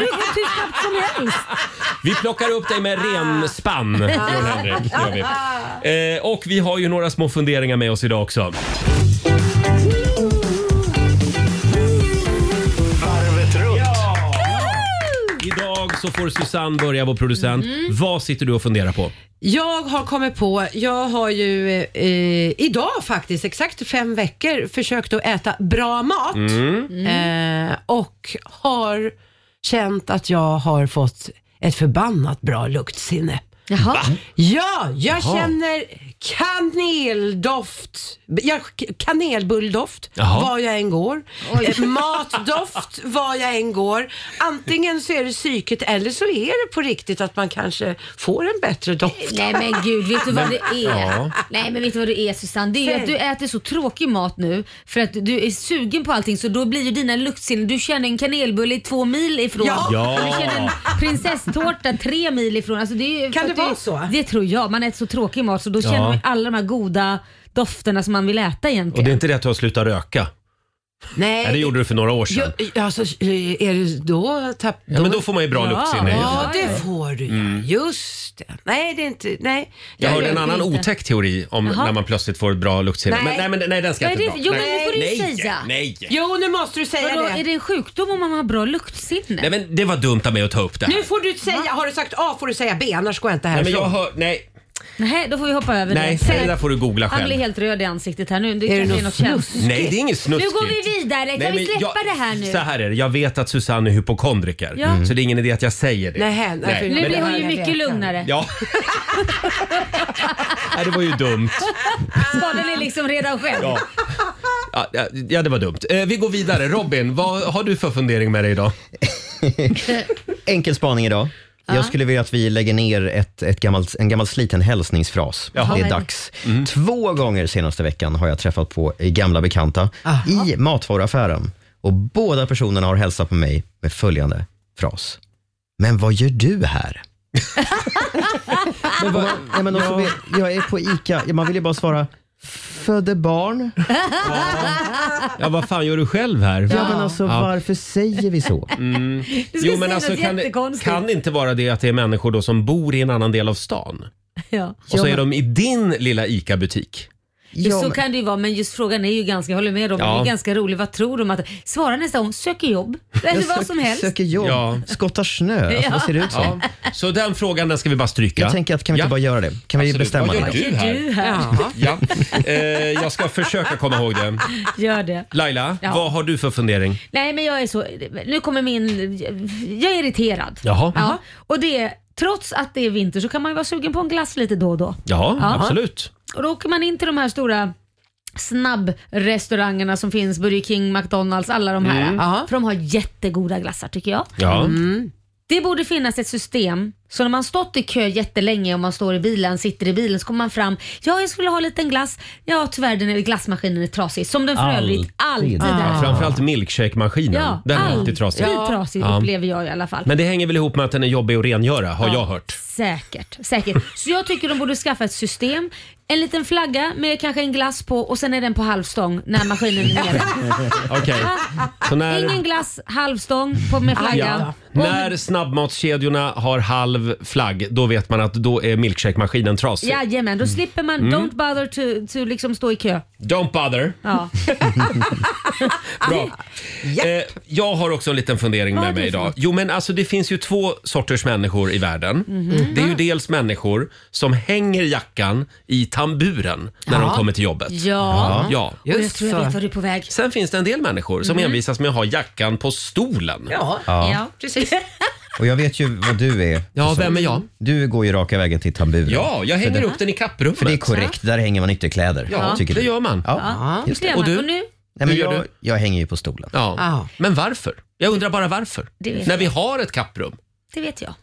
det gått hur snabbt som helst.
Vi plockar upp dig med renspann, Jon Henrik. Gör vi. Eh, och vi har ju några små funderingar med oss idag också.
Varvet runt.
Idag så får Susanne börja, vår producent. Vad sitter du och funderar på?
Jag har kommit på, jag har ju eh, idag faktiskt, exakt fem veckor, försökt att äta bra mat
Mm.
Mm.
Eh, och har känt att jag har fått ett förbannat bra luktsinne.
Jaha.
Ja, jag känner kaneldoft, jag, kanelbulldoft
Jaha.
var jag än går. Eh, Matdoft var jag än går. Antingen så är det psyket eller så är det på riktigt att man kanske får en bättre doft.
Nej men gud, vet du vad det är?
ja.
Nej men vet du vad det är Susanne? Det är ju
Säg.
att du äter så tråkig mat nu för att du är sugen på allting så då blir ju dina luktsinnen, du känner en kanelbulle i två mil ifrån.
Ja.
Ja.
Och Du känner en prinsesstårta tre mil ifrån. Alltså, det är ju,
Kan
för
det
att
vara så?
Det tror jag. Man äter så tråkig mat så då känner man ju alla de här goda dofterna som man vill äta
Och det är
egentligen.
inte det att du har slutat röka?
Nej.
Nej, det gjorde du för några år
Ja,
sedan.
alltså, är det då tapp,
Ja, men då får man ju bra
ja,
luktsinne.
Ja, det får du. Mm. Just det. Nej, det är inte... Nej.
Jag hörde en
vet
annan
inte.
otäck teori om
Jaha.
när man plötsligt får ett bra luktsinne.
Nej.
Men, nej, men, nej, den ska jag
Vad
inte
är
dra.
det- jo, men
nej.
det får du
nej,
säga.
Nej.
Jo, nu måste du säga
Vadå,
det.
Är det en sjukdom om man har bra luktsinne?
nej, men det var dumt av mig att ta upp det här.
Nu får du säga, har du sagt A får du säga B, annars går jag inte
Nej, men
härifrån.
jag hör, nej,
Nej, då får vi hoppa över
nej,
det.
det där får du googla
Han blir
själv.
helt röd i ansiktet här nu. Det kanske är något känsligt.
Nej, det är inget snuskigt.
Nu går vi vidare. Kan
Nej,
vi
men
släppa
jag-
det här nu?
Så här är det, jag vet att Susanne är hypokondriker.
Ja. Mm.
Så det är ingen idé att jag säger det.
Nej,
Nej,
nu
men
blir
det
hon
här-
ju mycket lugnare.
Ja. nej, det var ju dumt.
Skadan är liksom redan själv.
Ja. Ja, ja, ja, det var dumt. Eh, vi går vidare. Robin, vad har du för fundering med dig idag?
Enkel spaning idag. Jag skulle vilja att vi lägger ner ett, ett gammalt, en gammal sliten hälsningsfras.
Jaha. Mm.
Det är dags. Två gånger senaste veckan har jag träffat på gamla bekanta i matvaruaffären. Och båda personerna har hälsat på mig med följande fras. Men vad gör du här? men vad, nej, men också, Jag är på ICA. Man vill ju bara svara, födde barn.
Ja, vad fan gör du själv här?
Ja, men alltså, Varför säger vi så?
Mm.
Du ska säga något
kan, det,
jättekonstigt.
kan det inte vara det att det är människor då som bor i en annan del av stan?
Ja.
Och så är de i din lilla ICA-butik.
så kan det ju vara, men just frågan är ju ganska, jag håller med Robin,
Ja.
det är ganska rolig. Vad tror de? Att, svara nästa gång, söker jobb. Eller vad som helst.
Söker jobb,
Ja.
skottar snö. Alltså, Vad ser det ut som?
Ja. Så den frågan den ska vi bara stryka.
Jag tänker att kan vi inte bara göra det? Kan vi
Absolut.
bestämma
Vad
det?
gör du här?
Ja.
Ja. Eh, jag ska försöka komma ihåg det.
Gör det.
Laila,
Ja.
vad har du för fundering?
Nej men jag är så, nu kommer min, jag är irriterad.
Jaha.
Ja. Och det är, trots att det är vinter så kan man ju vara sugen på en glass lite då och då.
Ja,
Ja.
absolut.
Och då åker man in till de här stora snabbrestaurangerna som finns, Burger King, McDonalds, alla de här.
Mm.
För de har jättegoda glassar tycker jag. Mm.
Ja.
Det borde finnas ett system, så när man stått i kö jättelänge och man står i bilen, sitter i bilen, så kommer man fram. Ja, jag skulle ha en liten glass. Ja, tyvärr den är, glassmaskinen är trasig. Som den för övrigt alltid är.
Ja, framförallt milkshake-maskinen.
Ja,
den är alltid
alltid
trasig.
trasig
Ja.
upplever jag i alla fall.
Men det hänger väl ihop med att den är jobbig att rengöra, har jag hört.
Säkert, säkert. Så jag tycker de borde skaffa ett system. En liten flagga med kanske en glass på och sen är den på halvstång när maskinen är nere.
Okej. Så när...
Ingen glass, halvstång på med flaggan.
Ja. När snabbmatskedjorna har halv flagg, då vet man att då är milkshake-maskinen trasig.
Jajamän, då slipper man
Mm.
don't bother to, to liksom stå i kö.
Don't bother.
Ja.
Bra. Eh, jag har också en liten fundering
Vad
med
har du
mig
för
idag.
något?
Jo men alltså det finns ju två sorters människor i världen.
Mhm.
Det är ju dels människor som hänger jackan i tamburen när de
Ja.
kommer till jobbet.
Ja.
Ja.
Och jag
Just
tror
så.
jag vet Mhm. var du är på väg.
Sen finns det en del människor som envisas med att ha jackan på stolen.
Ja,
Ja.
precis.
Och jag vet ju vad du är. Alltså,
Ja, vem är jag?
Du går ju raka vägen till tamburen.
Ja, jag hänger
För det-
upp den i kapprummet.
För det är korrekt, där hänger man ytterkläder.
Ja,
tycker
det
du.
gör man.
Ja.
Ja.
just
det.
Och
Och
du?
du? Och nu?
Nej, men
Hur gör
jag,
du?
jag hänger ju på stolen.
Ja.
Ja.
Men varför? Jag undrar bara varför.
Ah. Det vet
När
jag.
vi har ett kapprum.
Det vet jag.
Ja,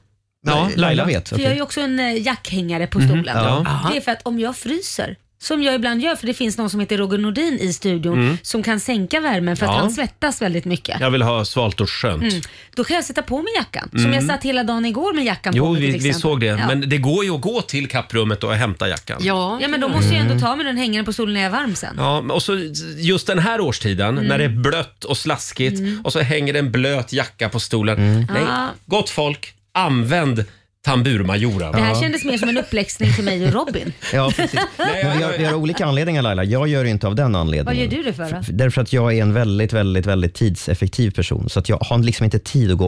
Nej,
Laila.
Laila vet.
För jag är
okej.
ju också en eh, jackhängare på stolen.
Mm-hmm. Ja.
Det är för att om jag fryser, som jag ibland gör, för det finns någon som heter Roger Nordin i studion som kan sänka värmen för att
Mm. Ja.
han svettas väldigt mycket.
Jag vill ha svalt och skönt.
Mm.
Mm.
Då kan jag sätta på mig jackan, som jag satt hela dagen igår med jackan på
Jo,
mig, till
vi, vi
exempel.
såg det.
Ja.
Men det går ju att gå till kapprummet och hämta jackan.
Ja,
Ja men då måste jag ändå ta med den hängande på stolen när jag är varm sen.
Ja, men och så just den här årstiden när det är blött och slaskigt och så hänger det en blöt jacka på stolen. Nej,
Ja.
gott folk, använd tamburmajoren.
Det här kändes mer som en uppläxning till mig och Robin.
Ja, precis. Men vi, har, vi har olika anledningar Laila. Jag gör ju inte av den anledningen.
Vad gör du det för då?
F- Därför att jag är en väldigt, väldigt, väldigt tidseffektiv person. Så att jag har liksom inte tid att gå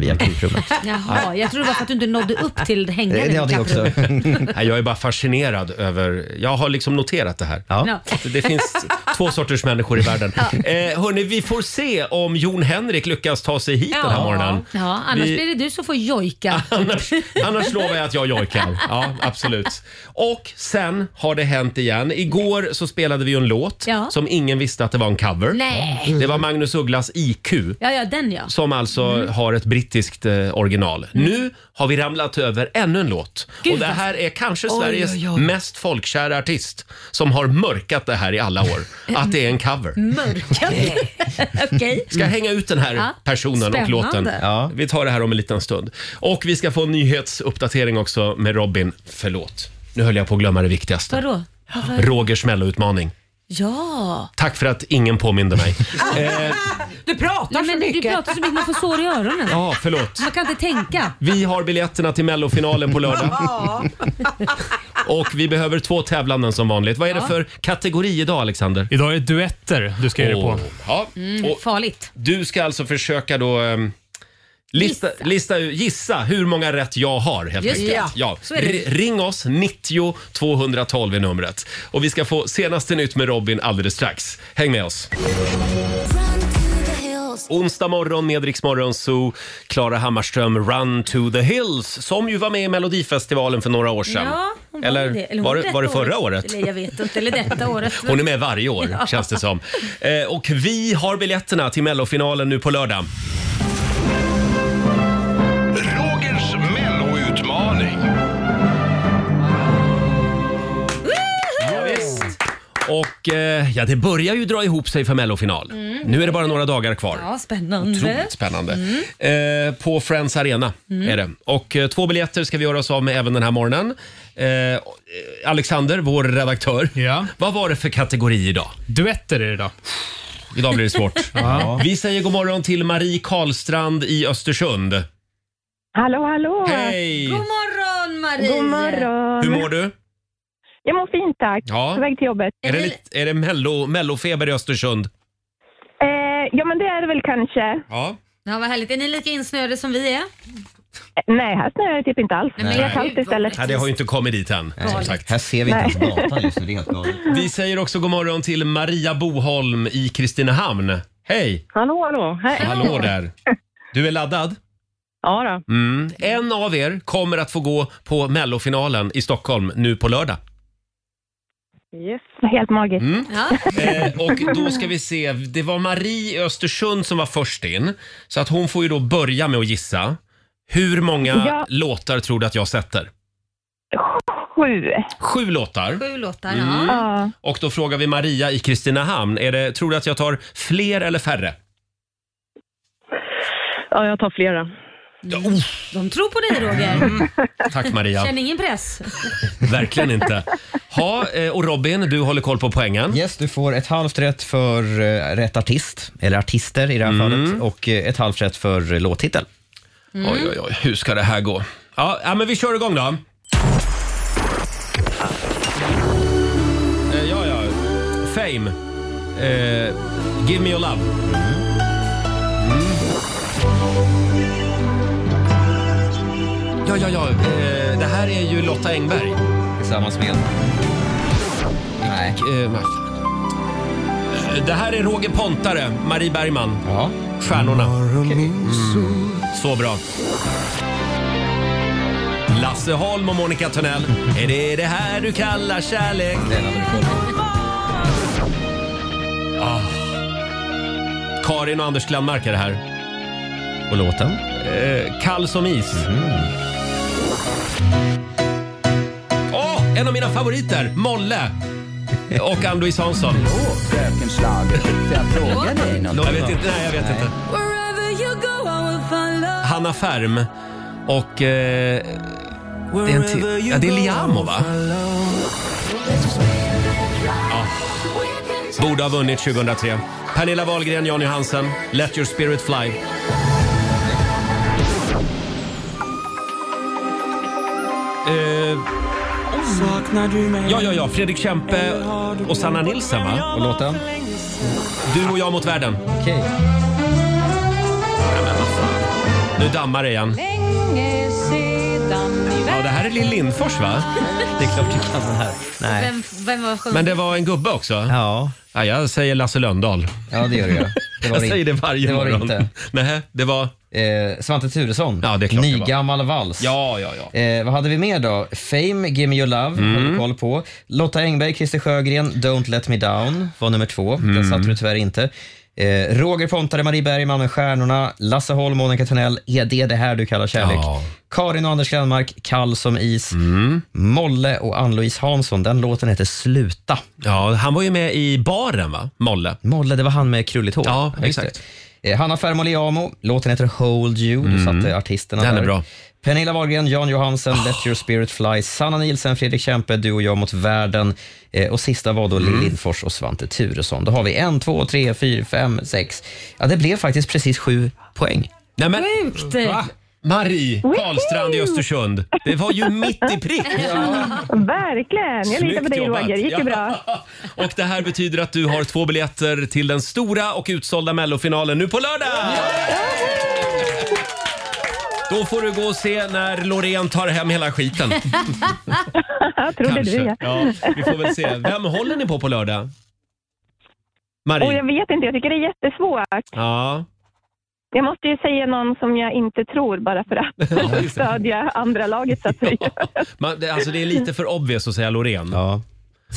via kapprummet.
Jaha, jag tror det var för att du inte nådde upp till
Eh,
hängaren.
ja, det också.
Nej, jag är bara fascinerad över... Jag har liksom noterat det här.
Ja.
Ja.
Det- Det finns två sorters människor i världen. Eh, hörni, vi får se om Jon Henrik lyckas ta sig hit den här
Ja.
morgonen.
Ja, annars
Vi-
blir det du som får jojka.
Annars, annars lovar jag att jag jojkar. Ja, absolut. Och sen har det hänt igen. Igår så spelade vi ju en låt
Ja.
som ingen visste att det var en cover.
Nej.
Det var Magnus Ugglas IQ
Ja, ja, den ja. Mm.
som alltså har ett brittiskt eh, original. Nu har vi ramlat över ännu en låt.
Gud,
och det
vad-
här är kanske
oj,
Sveriges
oj.
mest folkkära artist som har mörkat det här i alla år.
Mm.
Att det är en cover.
Mörka. Okej.
Ska hänga ut den här
Ja.
personen och
Spännande.
låten.
Ja.
Vi tar det här om en liten stund. Och vi ska få en nyhetsuppdatering också med Robin. Förlåt, nu höll jag på att glömma det viktigaste.
Vadå? Varför?
Rogers melloutmaning.
Ja.
Tack för att ingen påminde mig. eh,
Du pratar så mycket.
Du pratar så mycket, man får sår i öronen.
ja, förlåt.
Man kan inte tänka.
Vi har biljetterna till mellofinalen på lördag. Och vi behöver två tävlanden som vanligt. Vad är det
Ja.
för kategori idag, Alexander?
Idag är det duetter du ska ge dig på.
Ja.
Mm,
Och
farligt.
du ska alltså försöka då... ehm, Lista,
Gissa.
lista, ut- gissa hur många rätt jag har helt
Just
enkelt.
det.
Ja.
Så är det.
R- Ring oss, 90 212 är numret. Och vi ska få senaste nytt med Robin alldeles strax. Häng med oss. Onsdag morgon med Rix Morgon Zoo. Klara Hammarström, Run to the Hills, som ju var med i Melodifestivalen för några år sedan.
Ja, hon var
Eller,
ju det. Eller hon
var, det, var det
detta
förra året?
Eller jag vet inte. Eller detta året.
Hon är med varje år,
Ja.
känns det som. Eh, och vi har biljetterna till mellofinalen nu på lördag.
Rogers melloutmaning.
Och eh, ja, det börjar ju dra ihop sig för mellofinal.
Mm.
Nu är det bara några dagar kvar.
Ja, spännande.
Otroligt spännande. Eh, på Friends Arena
Mm.
är det. Och eh, två biljetter ska vi göra oss av med även den här morgonen. Eh, eh, Alexander, vår redaktör. Vad var det för kategori idag? Duetter är det idag. Idag blir det svårt.
Ja.
Vi säger god morgon till Marie Karlstrand i Östersund.
Hallå, hallå!
Hej! God
morgon, Marie!
God morgon!
Hur mår du?
Jag mår fint, tack.
Ja.
På väg till jobbet.
Är det, lite- är det mello, mellofeber i Östersund?
Eh, ja, men det är det väl kanske.
Ja.
Ja, vad härligt. Är ni lika insnöade som vi är?
Eh, Nej, här snöar det typ inte alls.
men
Det är kallt
gud,
istället.
Nej, det har ju inte kommit dit än. Som
Galet.
sagt.
Här ser vi inte
Nej.
ens datan just nu. Det är helt galet.
Vi säger också god morgon till Maria Boholm i Kristinehamn. Hej!
Hallå, hallå. Hej.
Hallå där! Du är laddad?
Ja,
då. Mm. En av er kommer att få gå på mellofinalen i Stockholm nu på lördag.
Yes.
Helt magiskt.
Eh, och då ska vi se, det var Marie i Östersund som var först in. Så att hon får ju då börja med att gissa. Hur många
Ja.
låtar tror du att jag sätter?
Sju.
Sju låtar.
Sju låtar,
Mm.
ja.
Och då frågar vi Maria i Kristinehamn, är det, tror du att jag tar fler eller färre?
Ja, jag tar flera.
Mm. De tror på dig, Roger.
oh. Tack Maria.
Känn ingen press.
Verkligen inte. Ha, eh, och Robin, du håller koll på poängen.
Yes, du får ett halvt rätt för eh, rätt artist, eller artister i det här fallet, och eh, ett halvt rätt för eh, låttitel.
Mm. Oj, oj, oj, hur ska det här gå? Ja, ja men vi kör igång då. Eh, ja, ja. Fame. Eh, give me your love. Mm. Ja, ja, ja. Eh, det här är ju Lotta Engberg.
Tillsammans med? Nej.
Eh, vad fan. Eh, det här är Roger Pontare, Marie Bergman. Ja. Stjärnorna. Mm. Så bra. Lasse Holm och Monica Törnell. Är det det här du kallar kärlek? Ah. Karin och Anders Glenmark är det här.
Och låten? Mm.
Eh, kall som is. Åh, en av mina favoriter! Molle och Ann-Louise Hansson.
Fröken Schlager, får jag fråga dig något?
Jag vet inte, nej, jag vet inte. Hanna Färm och... Eh, det är en till. Ja, det är Liamo, va? Ja. Borde ha vunnit 2003. Pernilla Wahlgren, Jan Johansen, Let your spirit fly. Eh, ja, ja, ja. Fredrik Kempe och Sanna Nilsson, va?
Och låten?
Du och jag mot världen.
Okej.
Nu dammar det igen.
Länge sedan i
Ja, det här är Lill Lindfors, va? Det är klart du kan den här. Nej.
Vem, vem var sjung?
Men det var en gubbe också?
Ja.
jag säger Lasse Lönndahl.
Ja, det gör du. ja. Det var
jag
det
säger
inte.
det varje
Det var det
morgon.
inte.
Nej, det var?
Eh, Svante Thuresson.
Ja, det är klart det var.
Nygammal vals.
Ja, ja, ja.
Eh, vad hade vi mer då? Fame, Give Me Your Love,
Mm.
hade du koll på. Lotta Engberg, Christer Sjögren, Don't Let Me Down var nummer två. Den
Mm.
satte du tyvärr inte. Eh, Roger Pontare, Marie Bergman med Stjärnorna, Lasse Holm, Monica Törnell, Är det det här du kallar kärlek? Karin och Anders Glenmark, Kall som is.
Mm.
Molle och Ann-Louise Hansson, den låten heter Sluta.
Ja, han var ju med i baren va? Molle.
Molle, det var han med krulligt hår.
Ja,
just
exakt.
det. Eh, Hanna Fermoliamo, låten heter Hold You. Du
Mm.
satte artisterna
Den är
där.
bra.
Pernilla Wahlgren, Jan Johansen, Let Your Spirit Fly, Sanna Nielsen, Fredrik Kempe, du och jag mot världen. Eh, och sista var då Lill Lindfors och Svante Thuresson. Då har vi en, två, tre, fyra, fem, sex. Ja, det blev faktiskt precis sju poäng.
Nämen.
Sjukt!
Marie Karlstrand i Östersund. Det var ju mitt i prick.
Verkligen. Jag litar på
Snyggt
dig
jobbat.
Roger. gick ju
Ja.
bra.
Och det här betyder att du har två biljetter till den stora och utsålda mellofinalen nu på lördag! Då får du gå och se när Loreen tar hem hela skiten.
Trodde du ja.
Ja, vi får väl se. Vem håller ni på på lördag?
Och jag
Marie?
vet inte, jag tycker det är jättesvårt.
Ja.
Jag måste ju säga någon som jag inte tror bara för att stödja andra laget så att säga.
Man, det, alltså det är lite för obvious att säga Loreen.
Ja.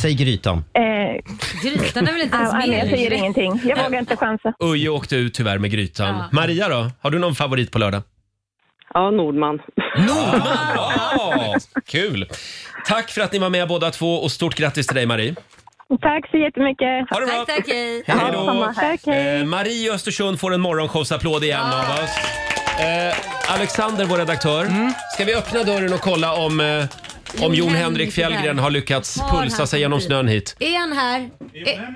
Säg Grytan.
Eh,
Grytan är väl inte ens
ah,
med
nej, Jag
längre?
säger ingenting. Jag vågar inte chansa.
Uje åkte ut tyvärr med Grytan.
Ja.
Maria då? Har du någon favorit på lördag?
Ja, Nordman.
Nordman! Ja, kul! Tack för att ni var med båda två och stort grattis till dig Marie.
Tack så jättemycket.
Ha det bra.
Tack, tack, hej.
Hej då!
Tack, hej.
Eh, Marie i Östersund får en morgonshowsapplåd igen av oss. Eh, Alexander, vår redaktör. Ska vi öppna dörren och kolla om, eh, om
Jon
Jon Henrik
Henrik
Fjällgren
där.
har lyckats
Har
pulsa
han
sig genom
kommit
snön hit?
Är han här? Är...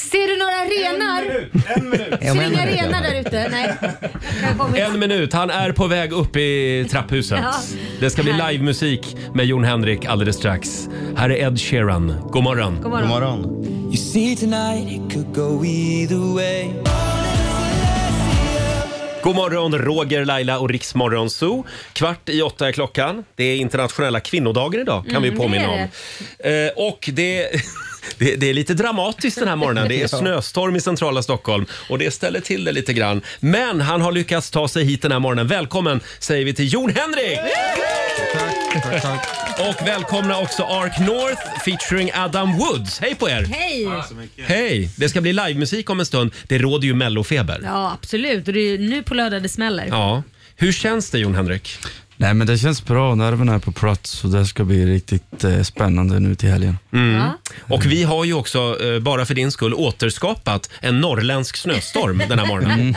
Ser du några renar?
Ja,
Ser du
men-
inga renar där ute? Nej. Jag kommer-
En minut, han är på väg upp i trapphuset.
Ja.
Det ska bli livemusik med Jon Henrik alldeles strax. Här är Ed Sheeran. God morgon.
God morgon. God
You see tonight it could go either way.
God morgon, Roger, Laila och Riksmorgon Zoo. Kvart i åtta är klockan. Det är internationella kvinnodagen idag, kan
Mm,
vi påminna
det
om.
är
Eh, och det... Det, det är lite dramatiskt den här morgonen. Det är
Ja.
snöstorm i centrala Stockholm och det ställer till det lite grann. Men han har lyckats ta sig hit den här morgonen. Välkommen säger vi till Jon Henrik! Och välkomna också Ark North featuring Adam Woods. Hej på er!
Hej!
Hej! Det ska bli livemusik om en stund. Det råder ju mellofeber.
Ja, absolut. Och det är ju nu på lördag det smäller.
Ja. Hur känns det Jon Henrik?
Nej men det känns bra, nerverna är på plats så det ska bli riktigt eh, spännande nu till helgen.
Mm. Och vi har ju också, eh, bara för din skull, återskapat en norrländsk snöstorm den här morgonen.
Mm.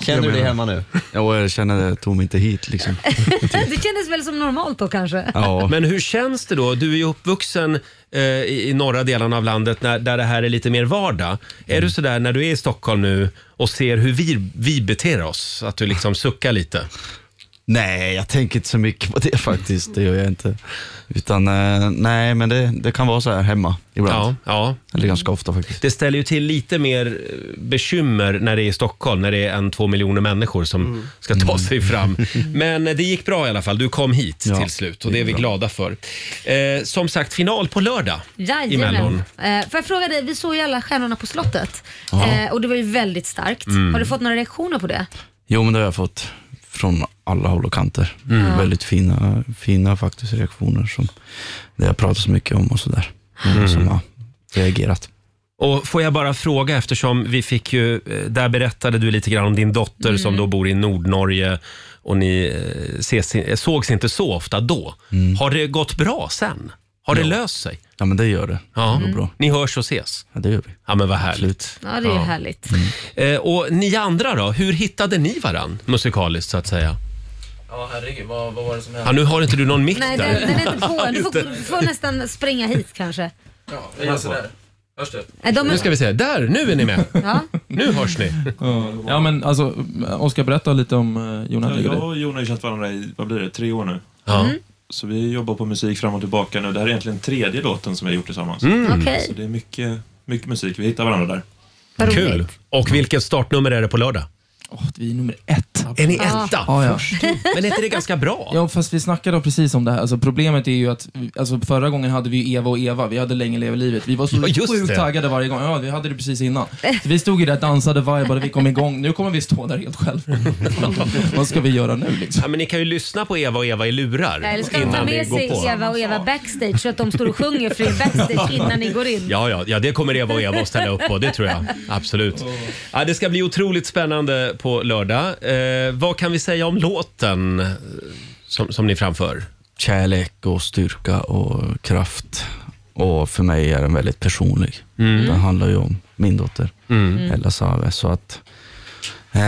Känner du dig hemma nu?
Ja, jag känner det, jag tog mig inte hit liksom.
Typ.
det kändes väl som normalt då kanske?
Men hur känns det då? Du är ju uppvuxen eh, i, i norra delarna av landet när, där det här är lite mer vardag. Är
Mm.
du sådär när du är i Stockholm nu och ser hur vi, vi beter oss, att du liksom suckar lite?
Nej, jag tänker inte så mycket på det faktiskt, det gör jag inte. Utan eh, nej, men det, det kan vara så här hemma ibland.
Ja, ja.
Eller ganska ofta faktiskt.
Det ställer ju till lite mer eh, bekymmer när det är i Stockholm, när det är en, två miljoner människor som ska ta sig fram. Men eh, det gick bra i alla fall. Du kom hit till slut och det är vi glada för. Eh, som sagt, final på lördag i Mellon.
Jajamän. Eh, får jag fråga dig, vi såg ju alla Stjärnorna på slottet.
Ja.
Eh, och det var ju väldigt starkt.
Mm.
Har du fått några reaktioner på det?
Jo, men det har jag fått från alla håll och kanter.
Mm.
Väldigt fina, fina faktiskt reaktioner som det har pratats mycket om och sådär. Mm. Som har reagerat.
Och Får jag bara fråga, eftersom vi fick ju, eh, där berättade du lite grann om din dotter
Mm.
som då bor i Nordnorge och ni eh, ses, eh, sågs inte så ofta då. Har det gått bra sen? Har det löst sig?
Mm. Ja, men det gör det.
Ja.
Det går bra.
Ni hörs och ses?
Ja, det gör vi.
Ja, men vad härligt.
Ja, det är ju härligt.
Eh, och ni andra då, hur hittade ni varann musikaliskt så att säga?
Ja, herregud, vad, vad var det som
Ja, nu har inte du någon mick
Nej,
där.
den, den är inte på. Du
Just
får,
det.
du får nästan springa hit kanske.
Jag gör sådär. Hörs det?
Nej, de är-
Nu ska vi se, där, nu är ni med.
Ja.
Nu hörs ni.
Ja, men alltså, Oskar, berätta lite om eh, Jon Henrik.
Ja, jag och Jon har ju känt varandra i, vad blir det, tre år nu.
Ja.
Så vi jobbar på musik fram och tillbaka nu. Det här är egentligen tredje låten som vi har gjort tillsammans.
Mm. Okej.
Så det är mycket, mycket musik. Vi hittar varandra där.
Vad roligt. Kul. Och vilket startnummer är det på lördag?
vi är nummer ett.
Är ni etta?
Ja, ja.
Först? Men är inte det ganska bra?
Ja, fast vi snackade då precis om det här. Alltså, problemet är ju att alltså, förra gången hade vi ju Eva och Eva. Vi hade Länge leva livet. Vi var så
Ja, just
sjukt
det.
taggade varje gång. Ja, vi hade det precis innan. Så vi stod ju där, dansade, vibade, vi kom igång. Nu kommer vi stå där helt själva. Vad ska vi göra nu liksom?
Ja, men ni kan ju lyssna på Eva och Eva i lurar
Ja, Eller ska de ta
innan vi
med sig
går på.
Eva och Eva backstage så att de står och sjunger för er backstage innan ni går in?
Ja, ja, ja, det kommer Eva och Eva att ställa upp på. Det tror jag. Absolut. Ja, det ska bli otroligt spännande på lördag. Eh, vad kan vi säga om låten eh, som, som ni framför?
Kärlek och styrka och kraft Och för mig är den väldigt personlig.
Mm.
Den handlar ju om min dotter,
Mm.
Ella Save. Så att, eh,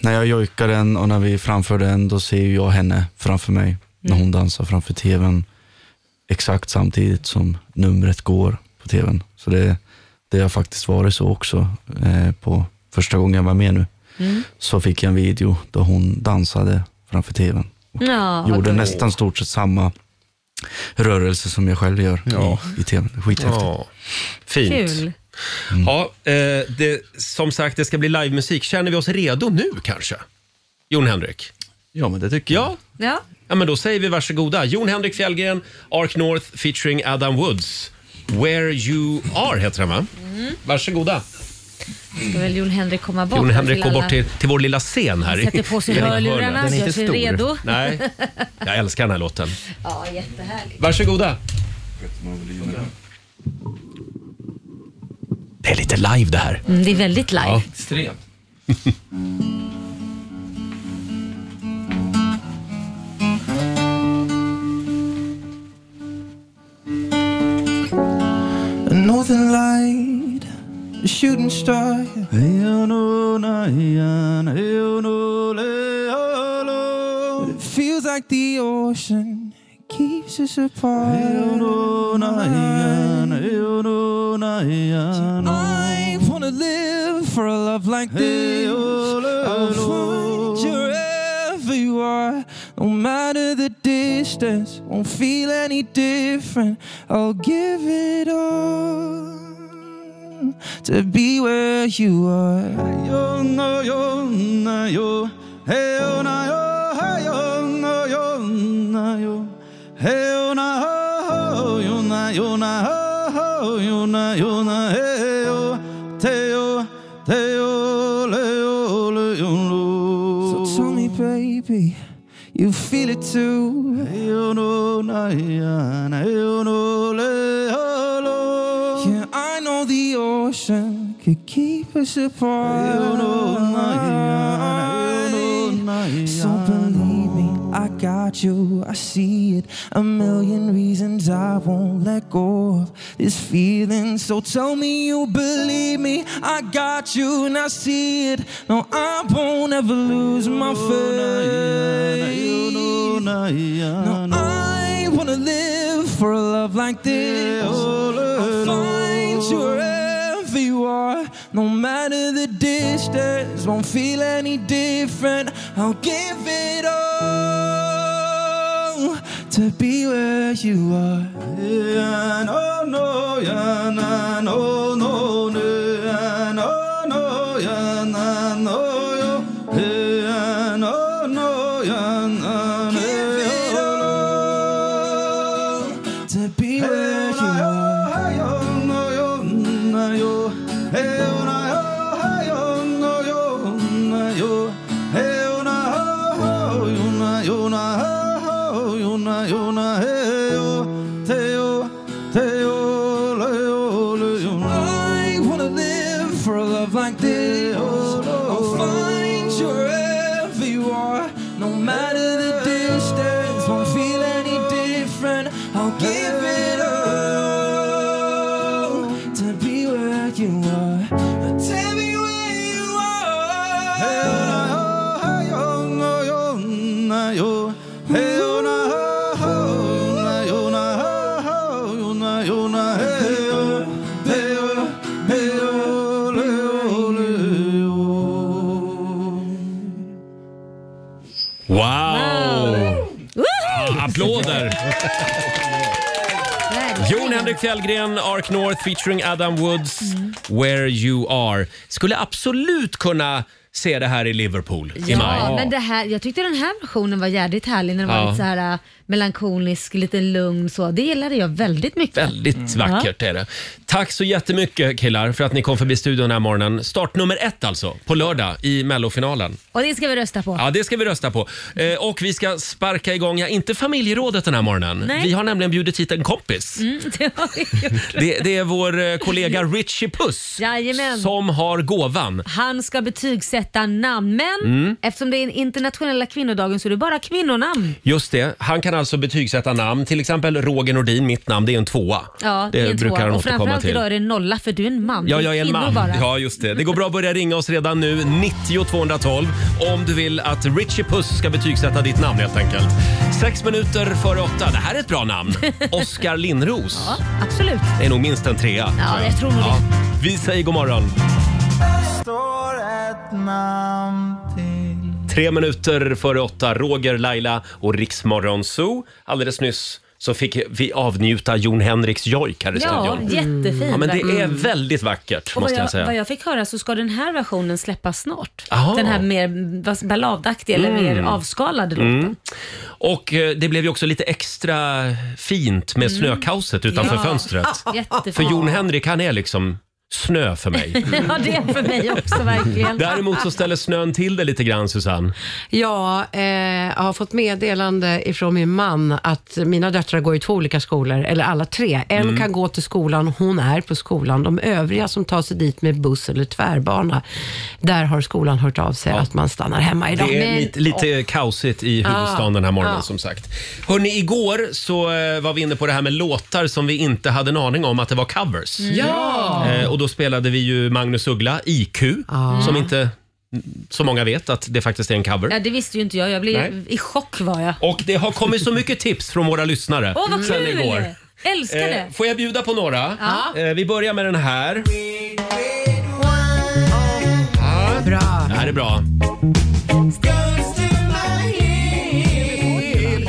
när jag jojkar den och när vi framför den, då ser ju jag henne framför mig.
Mm.
När hon dansar framför tvn, exakt samtidigt som numret går på tvn. Så det, det har faktiskt varit så också. Eh, på första gången jag var med nu,
Mm.
så fick jag en video där hon dansade framför tvn. Och
Ja, vad
gjorde
gulligt.
nästan stort sett samma rörelse som jag själv gör
Ja.
i, i tvn. Skithäftigt.
Ja. Fint.
Kul.
Mm.
Ja, eh, det, som sagt, det ska bli livemusik. Känner vi oss redo nu kanske? Jon Henrik?
Ja, men det tycker
jag.
Ja.
Ja, men då säger vi varsågoda. Jon Henrik Fjällgren, Ark North featuring Adam Woods. Where you are heter den va?
Mm.
Varsågoda.
Ska väl Jon Henrik komma bort?
Jon
här
Henrik går
alla-
bort till, till vår lilla scen här. i-
Sätter på sig
i
hörlurarna,
hörnet.
gör sig redo.
Nej, jag älskar den här låten.
ja, jättehärligt.
Varsågoda. Det är lite live det här.
Mm, det är väldigt live.
Ja.
Extremt.
A northern light, a shooting star. But it feels like the ocean keeps us apart. I wanna live for a love like this. I'll find you wherever you are, no matter the distance. Won't feel any different. I'll give it all to be where you are. oh, oh, oh, So tell me, baby, you feel it too. oh, ah, Yeah, I know the ocean could keep us oh, ah, apart. So believe me, I got you. I see it. A million reasons I won't let go of this feeling. So tell me you believe me. I got you and I see it. No, I won't ever lose my faith. No, I wanna live for a love like this. I'll find you wherever you are, no matter the distance. Won't feel any different. I'll give it all to be where you are. Yeah, no, no, yeah, no, no, no, no, yeah, no, no, yeah, no, no, yo. Yeah, no, no, yeah, no, no, yo. To be where you are. I wanna live for a love like this. I'll find you wherever you are, no matter the distance. Won't feel any different. I'll give it all to be where you are. Tell me where you
Wow! Ja, Ah, applåder! Jon Henrik Fjällgren, Ark North featuring Adam Woods, Where You Are. Skulle absolut kunna se det här i Liverpool i maj.
Ja, men det här, jag tyckte den här versionen var jädrigt härlig när den
Ja.
var lite så här äh, melankolisk, lite lugn så. Det gillade jag väldigt mycket. Mm.
Väldigt vackert är det. Tack så jättemycket killar för att ni kom förbi studion den här morgonen. Start nummer ett alltså, på lördag i mellofinalen.
Ja. Och det ska vi rösta på.
Ja, det ska vi rösta på. Eh, och vi ska sparka igång, ja, inte familjerådet den här morgonen.
Nej.
Vi har nämligen bjudit hit en kompis.
Mm, det har vi gjort.
Det, det är vår eh, kollega Richie Puss
Jajamän.
som har gåvan.
Han ska betygsätta rätta namn. Men
Mm.
eftersom det är den internationella kvinnodagen så är det bara kvinnonamn.
Just det, han kan alltså betygsätta namn. Till exempel Roger Nordin, mitt namn, det är en tvåa.
Ja,
det
är en
brukar
tvåa.
han
Och
återkomma
framförallt
till.
idag är det nolla för du är en man.
Ja,
Det är
jag är en
kvinnor
man.
Bara.
Ja, just det. Det går bra att börja ringa oss redan nu. 90 212 om du vill att Richie Puss ska betygsätta ditt namn helt enkelt. Sex minuter före åtta. Det här är ett bra namn. Oskar Lindros.
Ja, absolut.
Det är nog minst en trea.
Ja, jag tror nog det.
Vi säger god morgon. Tre minuter före åtta, Roger, Laila och Riksmorgon Zoo. Alldeles nyss så fick vi avnjuta Jon Henriks jojk här i
Ja,
studion. Mm.
jättefin.
Ja, men det är
verkligen.
väldigt vackert,
Och vad
måste jag
jag,
säga.
vad jag fick höra så ska den här versionen släppas snart.
Aha.
Den här mer vad- balladaktiga eller mer
Mm.
avskalade låten.
Mm. Och eh, det blev ju också lite extra fint med
Mm.
snökaoset utanför
Ja. Ah,
fönstret.
Jättefint.
För Jon Henrik, han är liksom snö för mig.
ja, det är för mig också verkligen.
Däremot så ställer snön till det lite grann, Susanne.
Ja, eh, jag har fått meddelande ifrån min man att mina döttrar går i två olika skolor, eller alla tre. En
Mm.
kan gå till skolan, hon är på skolan. De övriga som tar sig dit med buss eller tvärbana, där har skolan hört av sig att man stannar hemma idag.
Det är
Men-
lite, lite kaosigt
Ah.
i huvudstaden
Ja.
den här morgonen
Ja.
som sagt. Hörni, igår så eh, var vi inne på det här med låtar som vi inte hade en aning om att det var covers.
Mm.
Ja!
Eh, Och då spelade vi ju Magnus Uggla, IQ, som inte så många vet att det faktiskt är en cover.
Ah. Ja, det visste ju inte jag. Jag blev
Nej.
i chock var jag.
Och det har kommit så mycket tips från våra lyssnare
Åh, vad
sen
kul!
igår.
Älskar det.
Eh, får jag bjuda på några?
Ja.
Eh, vi börjar med den här.
Bra.
Det här är bra.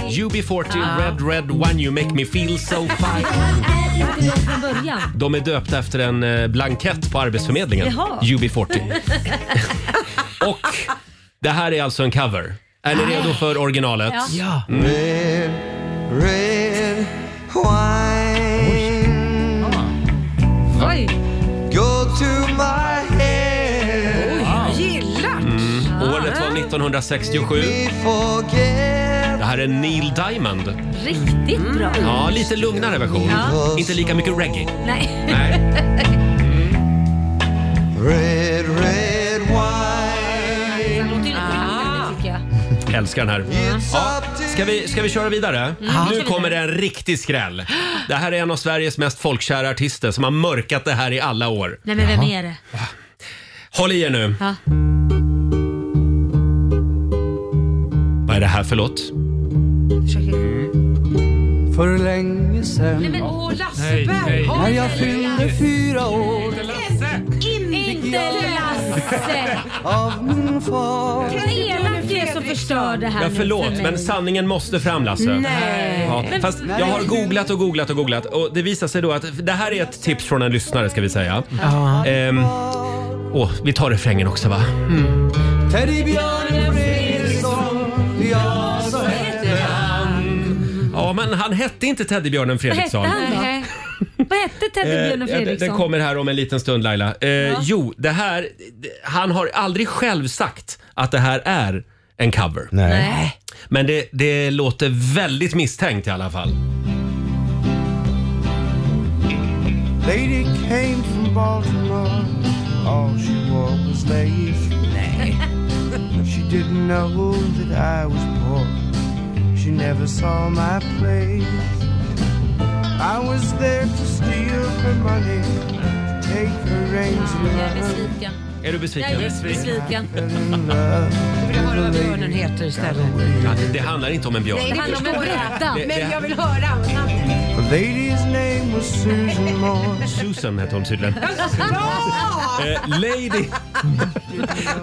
UB40,
Ja.
Red Red One You Make Me Feel So Fine.
Från början.
De är döpta efter en eh, blankett på Arbetsförmedlingen,
Jaha.
UB40. Och det här är alltså en cover. Är ni redo för originalet?
Ja.
Mm.
Red wine.
Oj.
Go to my head.
Gillar!
Mm. Året var 1967. Det här är Neil Diamond.
Riktigt bra.
Mm. Ja, lite lugnare version.
Ja.
Inte lika mycket reggae.
Nej.
Nej.
Red, red
Det
wine.
låter ju lite haltande tycker jag.
Älskar den här. Ja. Ska, vi, ska vi köra vidare?
Mm, vi kör
Nu
vidare.
kommer det en riktig skräll. Det här är en av Sveriges mest folkkära artister som har mörkat det här i alla år.
Nej men vem är det?
Håll i er nu.
Ja.
Vad är det här för låt?
För länge
Nej,
sen
men åh, Lasse
Nej, nej.
Berghagen.
När jag fyllde fyra år
Inte Lasse!
av min far
Kan elak det är som förstör det här
Ja,
nu
förlåt,
för
men
mig?
sanningen måste fram Lasse.
Nej.
Ja,
Men-
fast jag har googlat och googlat och googlat och det visar sig då att det här är ett tips från en lyssnare ska vi säga.
Ja.
Ehm, åh, vi tar refrängen också va?
Teddybjörnen Fredriksson, ja så heter han.
Ja, men han hette inte Teddybjörnen
Vad hette
Fredriksson.
han då? Vad hette Teddybjörn
Eh,
och
ja, det-
Fredriksson?
Den kommer här om en liten stund Laila. Eh, Jo, det här, det- han har aldrig själv sagt att det här är en cover.
Nej.
Men det, det låter väldigt misstänkt i alla fall.
Lady came from Baltimore All she wore was lace She didn't know that I was poor She never saw Oh, my place I was there to steal her money to Take her rings and
Jag är
run
besviken.
Är du besviken?
Jag är besviken.
Jag vill höra vad björnen heter istället.
Ja, det, det handlar inte om en björn.
Nej, det
handlar om en
förstår jag.
brudda.
Men jag vill höra namnet.
The lady's name was Susan Moore. Susan hette hon tydligen. Eh, lady,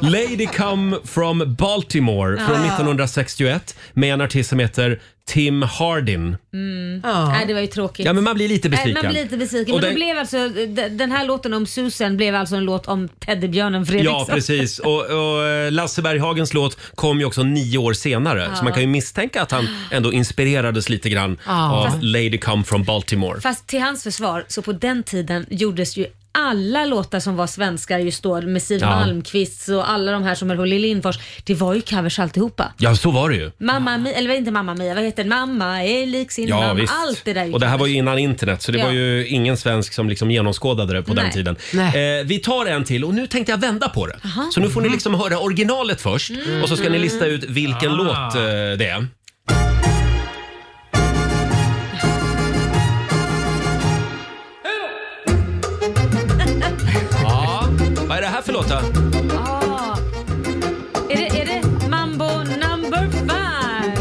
lady Come From Baltimore från
Ah.
1961 med en artist som heter Tim Hardin.
Mm. Nej, det var ju tråkigt.
Ja, men man blir lite besviken.
Nej, man blir lite besviken.
Och
Men det
den-
blev alltså, d- den här låten om Susan blev alltså en låt om teddybjörnen Fredriksson.
Ja, precis. Och, och eh, Lasse Berghagens låt kom ju också nio år senare.
Ja.
Så man kan ju misstänka att han ändå inspirerades lite grann
Ja.
av
Fast-
Lady Come From Baltimore.
Fast till hans försvar, så på den tiden gjordes ju alla låtar som var svenskar just då med Siw
Ja.
Malmkvist och alla de här som höll Holly Lindfors. Det var ju covers alltihopa.
Ja, så var det ju.
Mamma Mia, eller inte Mamma Mia, vad heter den? Mamma är lik sin
Ja,
mamma.
visst.
Allt det där är ju
Och det här
covers.
var ju innan internet, så det
Ja.
var ju ingen svensk som liksom genomskådade det på den
Nej.
tiden. Eh, vi tar en till och nu tänkte jag vända på det.
Aha. Mm.
Så nu får ni liksom höra originalet först och så ska ni lista ut vilken låt eh, det är. Ja, vad är det här för låt då?
Ah. Är det, är det Mambo number five?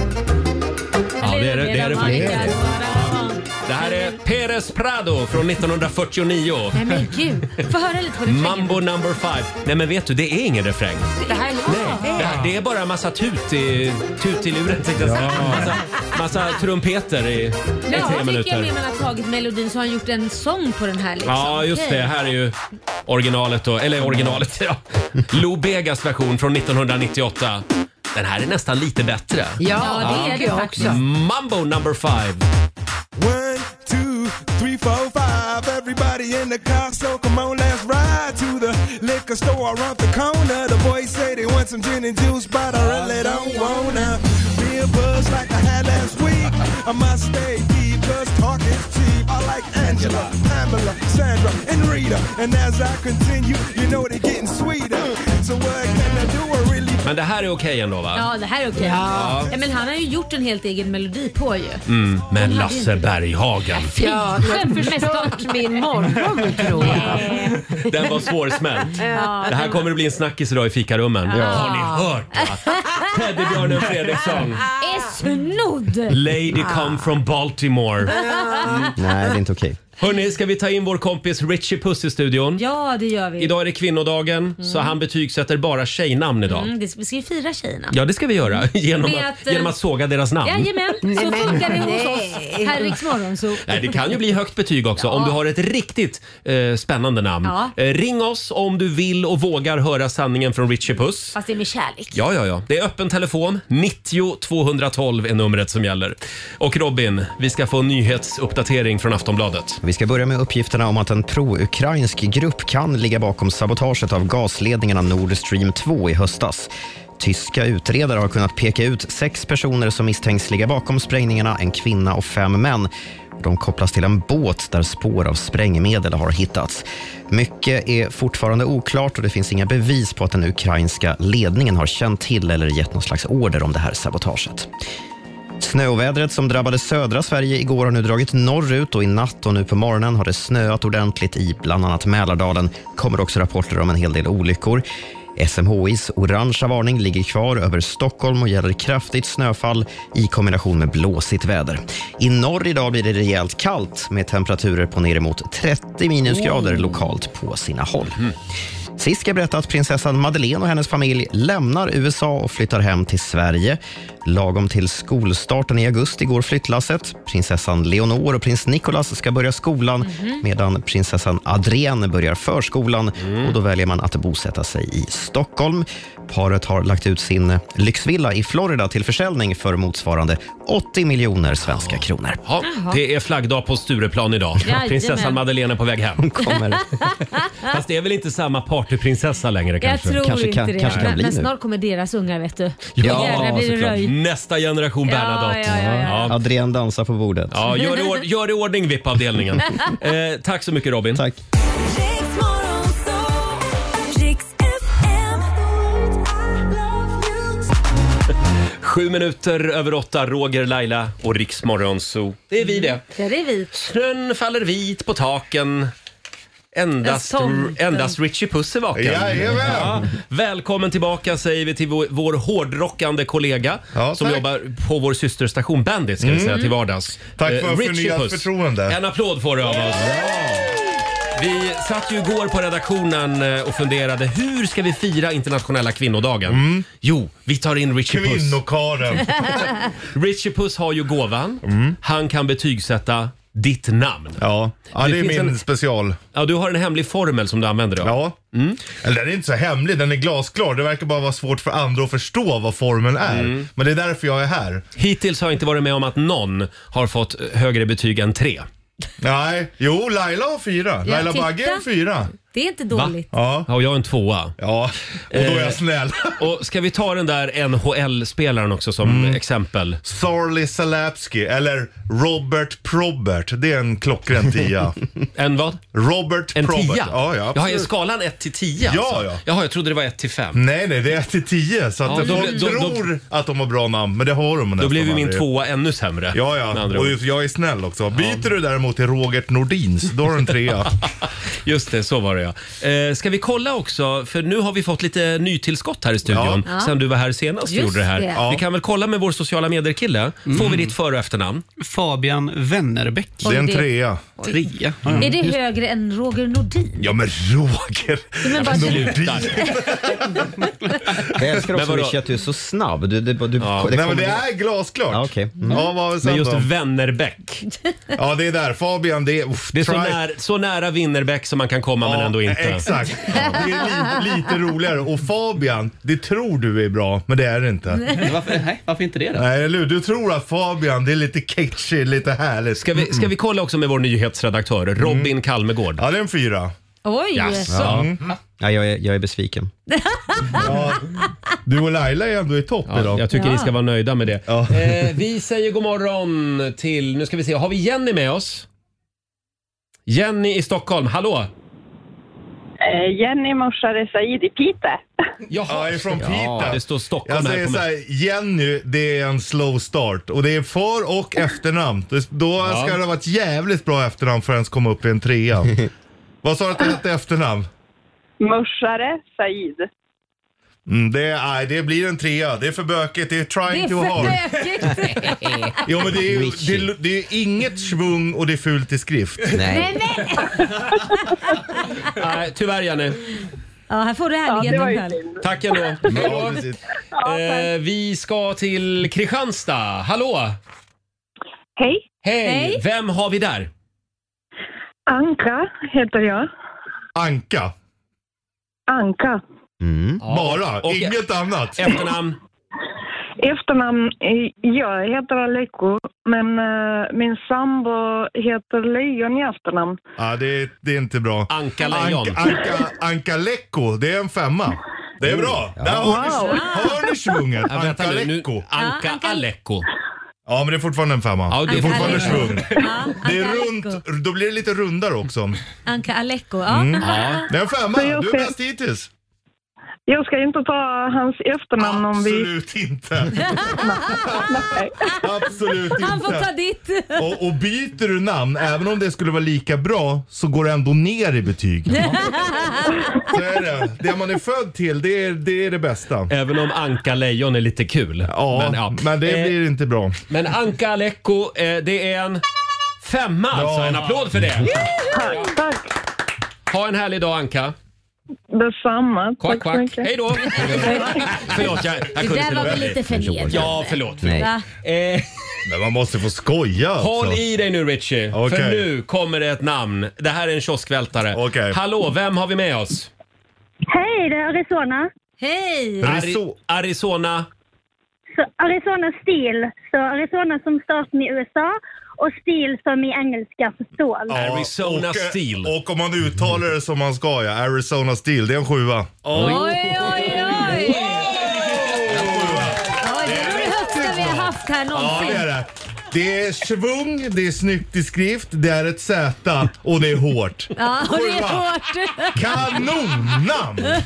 Ja, det är det, det, är det faktiskt.
Monica Sparano.
Det här är Pérez Prado från 1949.
Nej men gud, få höra lite på refrängen.
Mambo number five. Nej men vet du, det är ingen refräng.
Det här är
Det, här, det är bara en massa tut i, tut i luren tänkte jag säga. Massa, massa trumpeter i, i tre
Ja, jag tycker mer
minuter.
man har tagit melodin så har han gjort en sång på den här liksom.
Ja, just
Okej.
det. Här är ju originalet då. Eller originalet, ja. Lou Begas version från 1998. Den här är nästan lite bättre.
Ja, det är det faktiskt.
Mambo number five.
One, two, three, four, five. Everybody in the car, so come on, let's ride to the liquor store around the corner. The boys say they want some gin and juice, but I really don't wanna be a buzz like I had last week. I must stay deep, cause talk is cheap. I like Angela, Pamela, Sandra, and Rita. And as I continue, you know they're getting sweeter. So what can I do? I really
Men det här är okej ändå va?
Ja, det här är okej.
Ja.
Ja. men han har ju gjort en helt egen melodi på ju.
Mm, men Lasse Berghagen.
Ja, du har
Självförstört
förstört min morgon tror jag.
Den var svårsmält.
Ja.
Det här kommer att bli en snackis idag i fikarummen.
Ja.
Har ni hört? Teddybjörnen Fredriksson.
Är snodd!
Lady
Ah.
come from Baltimore.
Nej, det är inte okej.
Hörni, ska vi ta in vår kompis Richie Puss i studion?
Ja, det gör vi.
Idag är det kvinnodagen, så han betygsätter bara tjejnamn idag.
Mm, det, vi ska ju fira tjejerna.
Ja, det ska vi göra. Genom
Med
att,
att, eh,
genom att såga deras namn.
Jajamän, så
men-
funkar det hos oss
Nej.
här i Rix Morgon, så.
Nej, det kan ju bli högt betyg också om du har ett riktigt eh, spännande namn.
Ja.
Eh, ring oss om du vill och vågar höra sanningen från Richie Puss.
Fast det är med kärlek.
Ja, ja, ja. Det är öppen telefon. 90 212 är numret som gäller. Och Robin, vi ska få en nyhetsuppdatering från Aftonbladet.
Vi ska börja med uppgifterna om att en pro-ukrainsk grupp kan ligga bakom sabotaget av gasledningarna Nord Stream 2 i höstas. Tyska utredare har kunnat peka ut sex personer som misstänks ligga bakom sprängningarna, en kvinna och fem män. De kopplas till en båt där spår av sprängmedel har hittats. Mycket är fortfarande oklart och det finns inga bevis på att den ukrainska ledningen har känt till eller gett någon slags order om det här sabotaget. Snöovädret som drabbade södra Sverige igår har nu dragit norrut och i natt och nu på morgonen har det snöat ordentligt i bland annat Mälardalen. kommer också rapporter om en hel del olyckor. SMHIs orangea varning ligger kvar över Stockholm och gäller kraftigt snöfall i kombination med blåsigt väder. I norr idag blir det rejält kallt med temperaturer på neremot 30 minusgrader lokalt på sina håll. Sist ska jag berätta att prinsessan Madeleine och hennes familj lämnar USA och flyttar hem till Sverige. Lagom till skolstarten i augusti går flyttlasset. Prinsessan Leonor och prins Nicolas ska börja skolan medan prinsessan Adrienne börjar förskolan och då väljer man att bosätta sig i Stockholm. Paret har lagt ut sin lyxvilla i Florida till försäljning för motsvarande 80 miljoner svenska kronor.
Ja,
Jaha.
det är flaggdag på Stureplan idag.
Jajamän.
Prinsessan Madeleine är på väg hem. Hon
kommer.
Fast det är väl inte samma partyprinsessa längre
Jag
kanske?
tror inte det. men, men snart kommer deras ungar vet du.
Ja,
Jävlar blir det
såklart. Mm.
röj.
Nästa generation
Ja,
Bernadotte.
ja, ja, ja.
Adrienne dansar på bordet.
Ja, gör, i ord, gör i ordning VIP-avdelningen. eh, tack så mycket Robin.
Tack.
Sju minuter över åtta, Roger, Laila och Riksmorgon Zoo. Det är vi det.
Där är vi.
Snön faller vit på taken. Endast,
En sång.
endast Richie Puss är vaken.
Jajamän.
Välkommen tillbaka säger vi till vår, vår hårdrockande kollega som
tack.
jobbar på vår systerstation Bandit ska vi
Mm.
säga till vardags.
Tack
Eh,
för
Richie
förnyat
Puss.
förtroende.
En applåd får du av oss. Vi satt ju igår på redaktionen eh, och funderade hur ska vi fira internationella kvinnodagen? Jo, vi tar in Richie Puss.
Mm. Kvinnokaren. Mm.
Richie Puss har ju gåvan. Han kan betygsätta ditt namn.
Ja, ja det, är
finns
min
en-
special.
Ja, du har en hemlig formel som du använder då? Mm.
Ja. Eller den är inte så hemlig, den är glasklar. Det verkar bara vara svårt för andra att förstå vad formeln är.
Mm.
Men det är därför jag är här.
Hittills har jag inte varit med om att någon har fått högre eh, betyg än tre.
Nej, jo Laila har fyra.
Ja,
Laila
titta.
Bagge har fyra.
Det är inte dåligt.
Ja.
och jag är en tvåa. Eh,
Ja, och då är jag snäll.
Och ska vi ta den där NHL-spelaren också som
Mm.
exempel?
Sarli Salapski eller Robert Probert. Det är en klockren tia.
en vad?
Robert
En
Probert.
tia?
Ja, ja.
Jaha,
absolut.
är skalan 1 till 10
Ja,
alltså?
ja.
Jaha, jag trodde det var 1 till 5.
Nej, nej, det är 1 till 10. Så att
Ja, då
folk
blir- då- då-
tror att de har bra namn, men det har de nästan
Då blev ju min
aldrig.
tvåa ännu sämre.
Ja,
med
ja.
andra
Och
ord.
just- jag är snäll också. Byter du däremot till Robert Nordins, då har du en trea.
Just det, så var det ja. Eh, ska vi kolla också, för nu har vi fått lite nytillskott här i studion
Ja.
sen du var här senast
Just
gjorde det här.
det. Ja.
Vi kan väl kolla med vår sociala medier-kille. Får
Mm.
vi ditt för och efternamn?
Fabian Wennerbäck.
Det är en Oj, det- trea.
Oj.
Trea?
Är det högre än Roger Nordin?
Ja men Roger!
Men bara-
Jag älskar
Men
också
vadå?
Richie att du är så snabb. Du, du,
Nej,
du,
men det är glasklart.
Ja, okej. Mm.
Ja, vad har vi sen
Men just
då?
Wennerbäck.
Ja, det är där. Fabian, det är... Uff,
Det är så,
try-
när, så nära Winnerbäck som man kan komma men ändå inte.
Exakt. Det är li, lite roligare. Och Fabian, det tror du är bra, men det är det inte.
Men Varför, nej, varför inte det då?
Nej, eller hur? Du tror att Fabian, det är lite catchy, lite härligt.
Ska vi, ska vi kolla också med vår nyhetsredaktör, Robin Kalmegård?
Mm. Ja, det är en fyra.
Oj!
Jaså?
Ja, jag, är, jag är besviken.
Mm. Du och Laila är ändå i topp idag.
Jag tycker
Ja.
ni ska vara nöjda med det. Eh, vi säger god morgon till, nu ska vi se, har vi Jenny med oss? Jenny i Stockholm, hallå!
Eh, Jenny Morsare Said i Piteå.
Jaha.
Ja, ifrån Piteå.
Ja, det står Stockholm
jag
här
säger
på
så
mig.
här, Jenny, det är en slow start. Och det är för och efternamn. Det- Då
Ja.
ska det ha varit jävligt bra efternamn för att ens komma upp i en trea. Vad sa du att det hette efternamn?
Morsare Said.
Mm, det, är- nej, det blir en trea. Det är för bökigt. Det är trying too hard. Jo, men det är, ju,
Richie.
det, det är inget svung och det är fult i skrift.
Nej, nej.
Nej, tyvärr Jenny.
Ja, här får du ärligen
det var
ja,
ju
själv.
Tack ändå. Hej då.
precis.
eh, vi ska till Kristianstad. Hallå!
Hej.
Hej!
Hej.
Vem har vi där?
Anka heter jag.
Anka.
Anka.
Bara, inget annat.
Efternamn?
Efternamn, eh, jag heter Aleko, men eh, min sambo heter Lejon i efternamn.
Ja, det, det är inte bra.
Anka
Lejon. Anka, Anka, Anka Lecko, det är en femma. Det är bra. Där har ni,
Wow.
hör ni svunget.
Ja, vänta
Anka
nu, nu-
Lecko.
Anka Alecko.
Ja, men det är fortfarande en femma.
Ja, det är
det är fortfarande
Anka Lecko.
svung. Det är runt, då blir det lite rundare också.
Anka Alecko. Ja.
Mm. Det är en
Så
femma.
jag
Du är
ska-
bäst hittills.
Jag ska inte ta hans efternamn om vi...
Absolut inte. Absolut inte.
Han får ta ditt.
Och, och byter du namn, även om det skulle vara lika bra, så går det ändå ner i betyg. Så är det. Det man är född till, det är det, är det bästa.
Även om Anka Lejon är lite kul.
Ja, men, det
Eh,
blir inte bra.
Men Anka Alecko, eh, det är en femma alltså. En applåd för det.
Tack, tack.
Ha en härlig dag Anka.
Detsamma.
Quack,
tack så
quack.
mycket.
Hej då. förlåt, jag, jag
Det
kunde
där
inte
var
låta
väl
bli.
lite förnedrande.
Ja, förlåt. förlåt.
Va?
Eh,
Men man måste få skoja
håll
alltså.
i dig nu Richie,
Okej.
för nu kommer det ett namn. Det här är en kioskvältare.
Okej.
Hallå, vem har vi med oss?
Hej, det är Arizona.
Hej!
Ari- Arizona.
Så Arizona Steel. Så Arizona som staten i USA och Steel som i engelska för stål.
Arizona
och,
Steel.
Och om man uttalar det som man ska ja, Arizona Steel, det är en sjua.
Oj, oj, oj! oj. Oj, det är nog det högsta vi har haft här
Ja, det är
någonsin.
det. Det är svung, det är snyggt i skrift, det är ett Z och det är hårt.
Ja, och det är hårt.
Kanonnamn!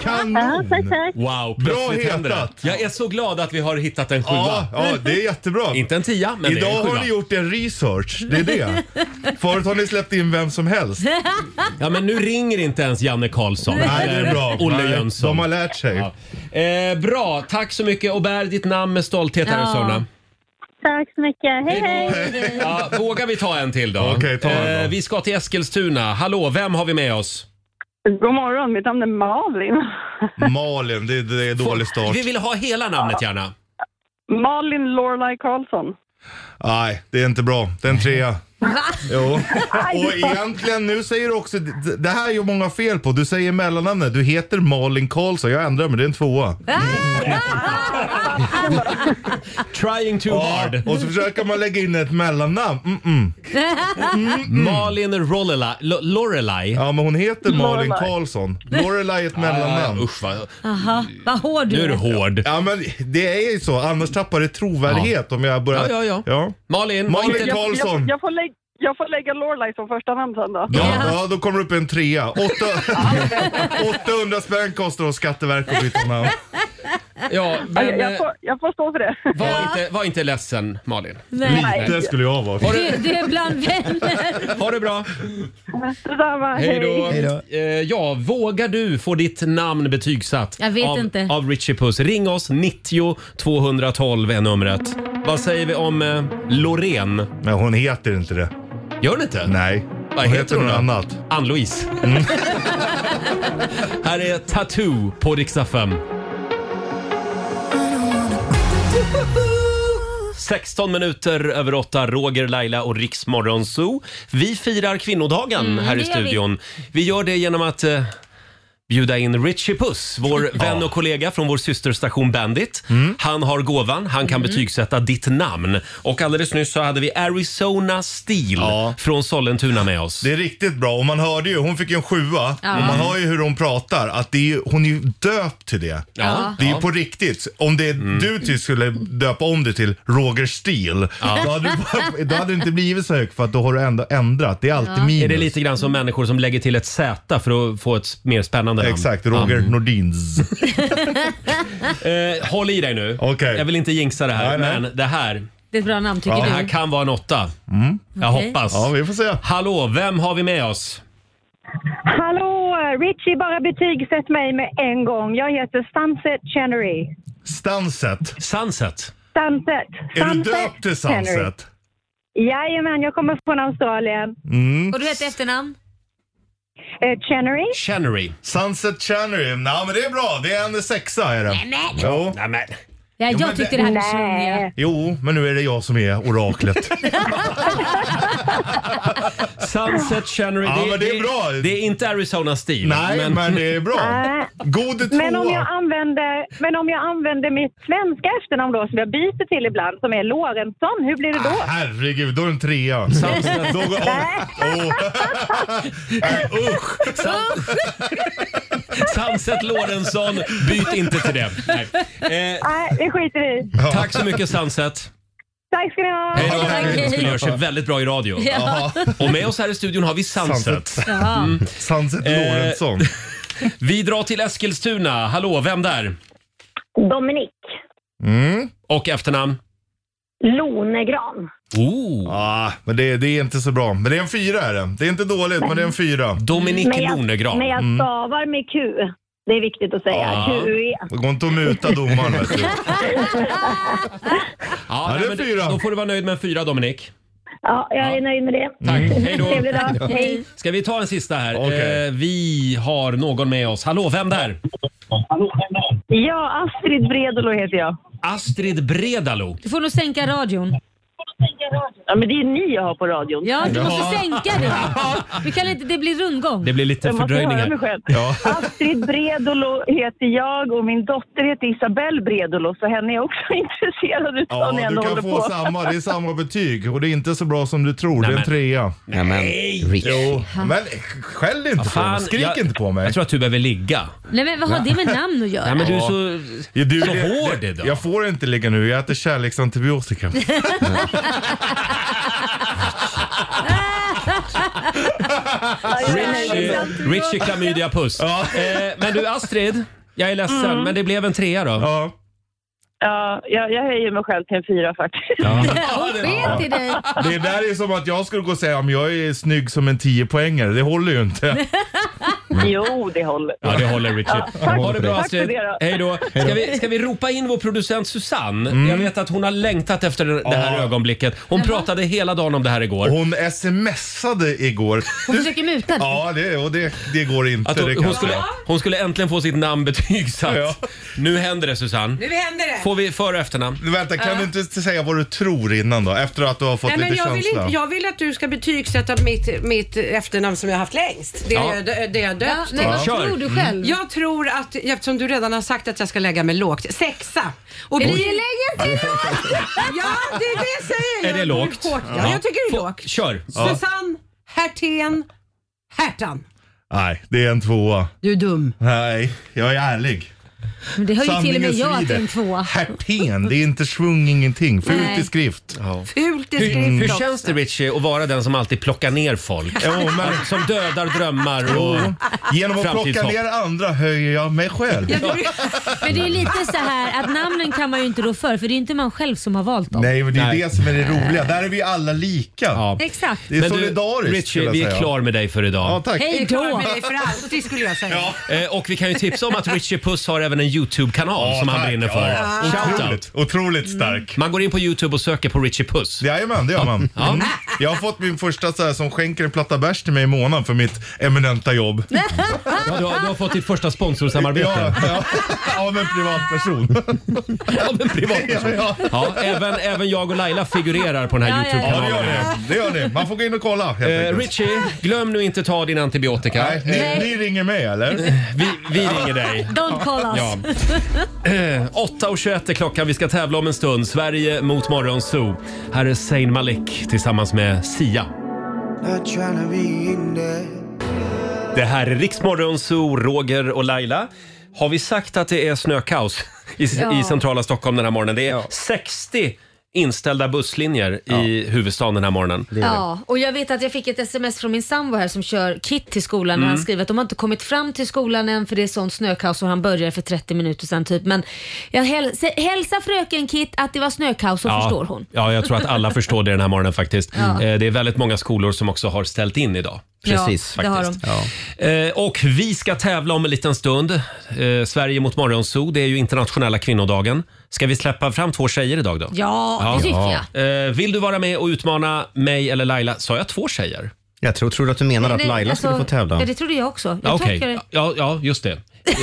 Kanon!
Wow,
Bra
plötsligt händer det.
hetat.
Jag är så glad att vi har hittat en sjua.
Ja, ja, det är jättebra.
Inte en tia, men det
Idag
är en
har
sjua.
ni gjort en research, det är det. Förut har ni släppt in vem som helst.
Ja, men nu ringer inte ens Janne Karlsson.
Nej, det är bra.
Olle
Nej,
Jönsson.
De har lärt sig.
Eh, bra, tack så mycket och bär ditt namn med stolthet
Ja.
Arizona.
Tack så mycket. Hej, hej.
Ja, vågar vi ta en till då? Eh,
Okej, ta en då.
vi ska till Eskilstuna. Hallå, vem har vi med oss?
God morgon, mitt namn är Malin.
Malin, det, det är dålig start.
Vi vill ha hela namnet gärna.
Malin Lorelai Karlsson.
Nej, det är inte bra. Det är en trea. Jo. Och egentligen, nu säger du också, d- det här gör många fel på. Du säger mellannamnet, du heter Malin Karlsson. Jag ändrar mig, det är en tvåa.
Mm.
Trying too hard.
Och så försöker man lägga in ett mellannamn. Mm-mm.
Mm. Malin Rollela- Lo- Lorelai.
Mm. Ja, men hon heter Malin
Lorelai.
Karlsson. Lorelai är ett mellannamn.
usch vad...
Aha, vad hård du
hård.
Ja, men det är ju så. Annars tappar det trovärdighet om jag börjar...
Ja, ja, ja. Malin,
Malin
inte-
Karlsson.
Jag, jag, får lägga, jag får lägga Lorelai som första namn sen då.
Ja, ja, då kommer det upp en trea. Åtta- 800 spänn kostar det hos Skatteverket att byta namn.
Ja, men,
jag, jag,
eh,
får, jag får stå för det.
Var, inte, var inte ledsen Malin.
Nej.
Lite skulle jag vara.
Ha
Du,
det,
du är bland vänner.
ha det bra.
Detsamma,
Hej då. Eh, ja, vågar du få ditt namn betygsatt
Jag vet
av,
inte.
av Richie Puss? Ring oss, 90 212 är numret. Vad säger vi om eh, Loreen?
Nej, hon heter inte det.
Gör hon inte?
Nej.
Vad
hon
heter
heter
hon
något
då?
annat. Mm.
Ann-Louise. Här är Tattoo på riksdag 5. 16 minuter över 8, Roger, Laila och Riksmorgon Zoo. Vi firar kvinnodagen
Mm,
här i
det gör vi.
studion. Vi gör det genom att eh, bjuda in Richie Puss, vår vän och kollega från vår systerstation Bandit.
Mm.
Han har gåvan, han
Mm.
kan betygsätta ditt namn. Och alldeles nyss så hade vi Arizona Steel från Sollentuna med oss.
Det är riktigt bra och man hörde ju, hon fick ju en sjua
Ja.
och man hör ju hur hon pratar att det är, ju- hon är ju döpt till det.
Ja. Mm.
Det är ju
Ja.
på riktigt. Om det du till skulle döpa om det till Roger Steel,
Ja.
då, hade du, bara- då hade det inte blivit så högt för att då har du ändå ändrat. Det är alltid minus.
Är det lite grann som människor som lägger till ett Z för att få ett mer spännande namn? Mm.
Exakt, Roger Nordins.
Eh, håll i dig nu. Jag vill inte jinxa det här, men det här,
Det är ett bra namn tycker
det
du.
här kan vara en åtta. Jag
Okej.
hoppas.
Ja,
Mm. vi får se.
Hallå, vem har vi med oss?
Hallå! Richie bara betygsätt mig med en gång. Jag heter Sunset Chenery.
Stanset.
Sunset.
Sunset.
Är du
Sunset
döpt till
Chenery.
Sunset?
Jajamän, jag kommer från Australien.
Mm.
Och du heter efternamn?
Eh, Chenery.
Chenery.
Sunset Chenery. Nej men det är bra. Det är en sexa är det.
Nämen.
Jo.
Nämen.
Ja,
Jo,
jag
men
tyckte det
det-
här var tjurigt.
jo, men nu är det jag som är oraklet.
Sunset Chenery.
Ja, men det är bra.
Det, är inte Arizona Steel.
Nej, men det är bra.
Nej.
God
Eh, Men om,
tvåa.
jag använder, men om jag använder mitt svenska efternamn då, som jag byter till ibland, som är Lorentzon, hur blir det då?
Herregud, då är det en trea.
Sunset.
Då går, åh, åh. Nej, usch.
Sunset Lorentzon, byt inte till det. Nej. Eh,
Nej, det skiter vi i.
Tack så mycket Sunset.
Tack ska ni ha.
Hej då. Det skulle göra sig väldigt bra i radio.
Ja.
Och med oss här i studion har vi Sunset.
Ja.
Sunset
Eh,
Lorentzon.
Vi drar till Eskilstuna. Hallå, vem där?
Dominik
Och efternamn?
Lonegran.
Oh.
Ah, men det, det är inte så bra. Men det är en fyra är det. Det är inte dåligt, men det är en fyra.
Dominik
men jag, Men jag
Mm.
stavar med Q. Det är viktigt att säga. E.
Ja.
QE.
Det går inte att muta domaren. vet du.
Ja,
det
nej,
är
men
fyra.
Då får du vara nöjd med en fyra, Dominik.
Ja, jag är nöjd med det.
Tack. Hej då.
Trevlig dag. Hej.
Ska vi ta en sista här?
Okej.
Eh, vi har någon med oss. Hallå, vem där?
Ja, Astrid Bredolo heter jag.
Astrid Bredalo.
Du får nog sänka radion.
Ja, men det är ni jag har på radion.
Ja, du måste
Ja.
sänka det. Du kan inte, det blir rundgång.
Det blir lite
Jag måste höra
fördröjningar.
mig själv.
Ja.
Astrid Bredolo heter jag och min dotter heter Isabelle Bredolo så henne är jag också intresserad utav
Ja,
när jag
du
ändå
kan
håller
få
på.
samma. Det är samma betyg och det är inte så bra som du tror. Det är en trea.
Nej!
Jo, men skäll inte på mig. Skrik
jag,
inte på mig.
Jag tror att du behöver ligga.
Nej men vad har det med namn att göra?
Nej, men du är
Ja.
så,
Ja, du,
så
det-
hård
det-
idag.
Jag får inte ligga nu. Jag äter kärleksantibiotika.
Richie, Richie klamydia puss. Eh, men du Astrid, jag är ledsen men det blev en trea då.
Mm. Ja.
Ja, jag, jag höjer mig själv till en fyra faktiskt.
Hon sket i dig.
Det där är som att jag skulle gå och säga om jag är snygg som en 10 poängare. Det håller ju inte.
Jo, det håller.
Ja, det håller Richie.
Ja, tack.
ha det bra
Tack
Astrid.
för det då.
Hej då.
Hej
Ska
då.
vi, ska vi ropa in vår producent Susanne?
Mm.
Jag vet att hon har längtat efter det här ögonblicket. Hon pratade hela dagen om det här igår.
Hon smsade igår.
Hon försöker muta dig.
Ja, det, och det, det går inte.
Att hon,
det kan
hon,
jag
skulle,
säga.
hon skulle äntligen få sitt namn betygsatt. Nu händer det Susanne.
Nu händer det.
Får vi för och efternamn?
Vänta, kan
Ja.
du inte säga vad du tror innan då? Efter att du har fått
Nej, men
lite
jag, vill
känsla.
inte, jag vill att du ska betygsätta mitt, mitt efternamn som jag har haft längst. Det
Ja.
jag, dö- det jag döpt
Ja, men vad
till.
Kör. tror du själv? Mm.
Jag tror att, eftersom du redan har sagt att jag ska lägga mig lågt, sexa. Och
Är
det-
det lägger sig
Ja, det är det jag säger.
Är det
Jag-
lågt?
Hårt, ja.
Ja.
jag tycker det är lågt.
Kör!
Susanne Hertén Hertan.
Nej, det är en tvåa.
Du är dum.
Nej, jag är ärlig.
Men det har ju till och med
Sanningen
jag att det är en
svider.
tvåa.
Hertén, det är inte svung ingenting. Fult
Nej.
i skrift.
Fult i
Hur,
skrift
hur
också.
känns det Richie att vara den som alltid plockar ner folk?
Jo, men-
Som dödar drömmar och
Jo. Genom att plocka
framtidshopp.
ner andra höjer jag mig själv.
Men det är ju lite så här att namnen kan man ju inte rå för för det är ju inte man själv som har valt dem.
Nej, men det är det som är det roliga. Där är vi alla lika.
Exakt.
Det är
Men du,
solidariskt,
Richie,
skulle jag
vi är
säga.
klar med dig för idag.
Ja, tack.
Jag är klar med dig för alltid skulle jag säga.
Eh, Och vi kan ju tipsa om att Richie Puss har även en YouTube-kanal
Ja,
som han
tack.
brinner för.
Ja. Otroligt, otroligt stark.
Man går in på YouTube och söker på Richie Puss.
Jajamän, det gör man.
Ja.
Mm. Jag har fått min första så här, som skänker en platta bärs till mig i månaden för mitt eminenta jobb.
Ja, du, har, du har fått ditt första sponsorsamarbete.
Ja, ja, av en privatperson.
Av en privatperson.
Ja, ja.
Ja, även, även jag och Laila figurerar på den här
Ja, ja, ja.
YouTube-kanalen.
Ja, det gör ni. Det gör ni. Man får gå in och kolla helt
Eh,
enkelt.
Richie, glöm nu inte ta din antibiotika.
Nej, ni, ni ringer mig eller?
Vi, vi ringer dig.
Don't call us.
Ja. Eh, 8.21 är klockan. Vi ska tävla om en stund. Sverige mot Morgonzoo. Här är Zayn Malik tillsammans med Sia.
Not trying to be in there.
Det här är Riksmorgonzoo, Roger och Laila. Har vi sagt att det är snökaos i,
Ja.
i centrala Stockholm den här morgonen? Det är 60 inställda busslinjer i huvudstaden den här morgonen.
Ja, och jag vet att jag fick ett sms från min sambo här som kör Kit till skolan och han
Mm.
skriver att de har inte kommit fram till skolan än för det är sånt snökaos och han började för 30 minuter sedan typ. Men jag häls hälsa fröken Kit att det var snökaos så
ja.
förstår hon.
Ja, jag tror att alla förstår det den här morgonen faktiskt.
Ja.
Eh, Det är väldigt många skolor som också har ställt in idag.
Precis. Ja, det har
faktiskt. Eh, Och vi ska tävla om en liten stund. Eh, Sverige mot Morgonzoo, det är ju internationella kvinnodagen. Ska vi släppa fram två tjejer idag då?
Ja, det tycker
jag. Vill du vara med och utmana mig eller Laila? Sa jag två tjejer?
Jag tror, tror du att du menar att
Nej,
Laila skulle få
alltså,
tävla?
Ja, det trodde jag också.
Ja,
Jag
Okej,
tolkar det.
ja, ja just det. Eh,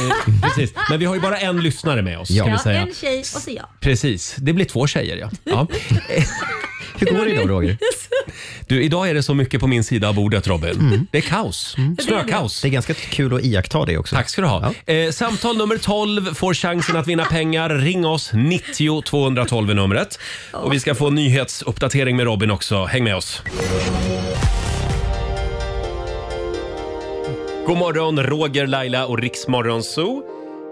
Precis. Men vi har ju bara en lyssnare med oss. Ska vi
Ja,
säga.
en tjej och så jag.
Precis, det blir två tjejer ja. ja. Hur går det idag Roger? Du, idag är det så mycket på min sida av bordet Robin. Mm. Det är kaos. Snökaos. Det är ganska kul att iaktta det också. Tack ska du ha. Eh, samtal nummer 12 får chansen att vinna pengar. Ring oss, 90 212 är numret. Och vi ska få en nyhetsuppdatering med Robin också. Häng med oss. God morgon, Roger, Laila och Riksmorgon Zoo.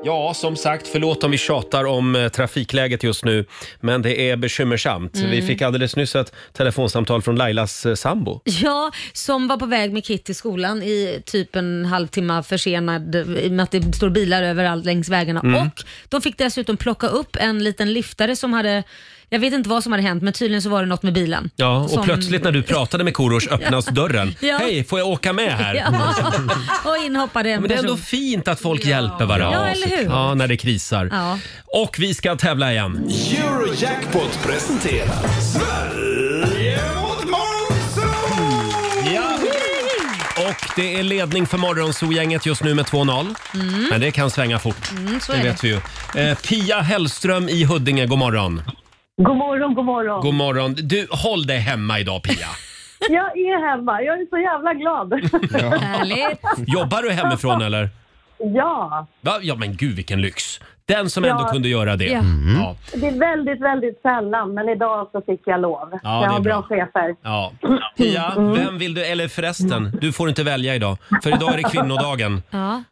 Ja, som sagt, förlåt om vi tjatar om eh, trafikläget just nu, men det är bekymmersamt.
Mm.
Vi fick alldeles nyss ett telefonsamtal från Lailas eh, sambo.
Ja, som var på väg med Kit till skolan i typ en halvtimme försenad i och med att det står bilar överallt längs vägarna.
Mm.
Och de fick dessutom plocka upp en liten lyftare som hade, jag vet inte vad som hade hänt, men tydligen så var det något med bilen.
Ja, och
Som-
plötsligt när du pratade med Korosh öppnas dörren.
Ja.
Hej, får jag åka med här?
Ja. Och in hoppade en
Men det är
person.
ändå fint att folk hjälper varandra.
Ja, eller hur?
Ja, när det krisar.
Ja.
Och vi ska tävla igen.
Eurojackpot presenterar Sverige mot Monzo!
Ja. Och det är ledning för Morgonzoo-gänget just nu med 2-0.
Mm.
Men det kan svänga fort.
Mm, så
det
är det.
vet vi ju. Eh, Pia Hellström i Huddinge, god morgon.
God morgon, god morgon.
God morgon. Du, håll dig hemma idag Pia.
Jag är hemma. Jag är så jävla glad.
Härligt.
Jobbar du hemifrån eller?
Ja.
Va? Ja men gud vilken lyx. Den som
Ja.
ändå kunde göra det.
Ja. Mm.
Ja.
Det är väldigt, väldigt sällan, men idag så fick jag lov.
det
jag har
är
bra
bra.
chefer.
Ja. Pia, vem vill du, eller förresten, du får inte välja idag. För idag är det kvinnodagen.
Ja.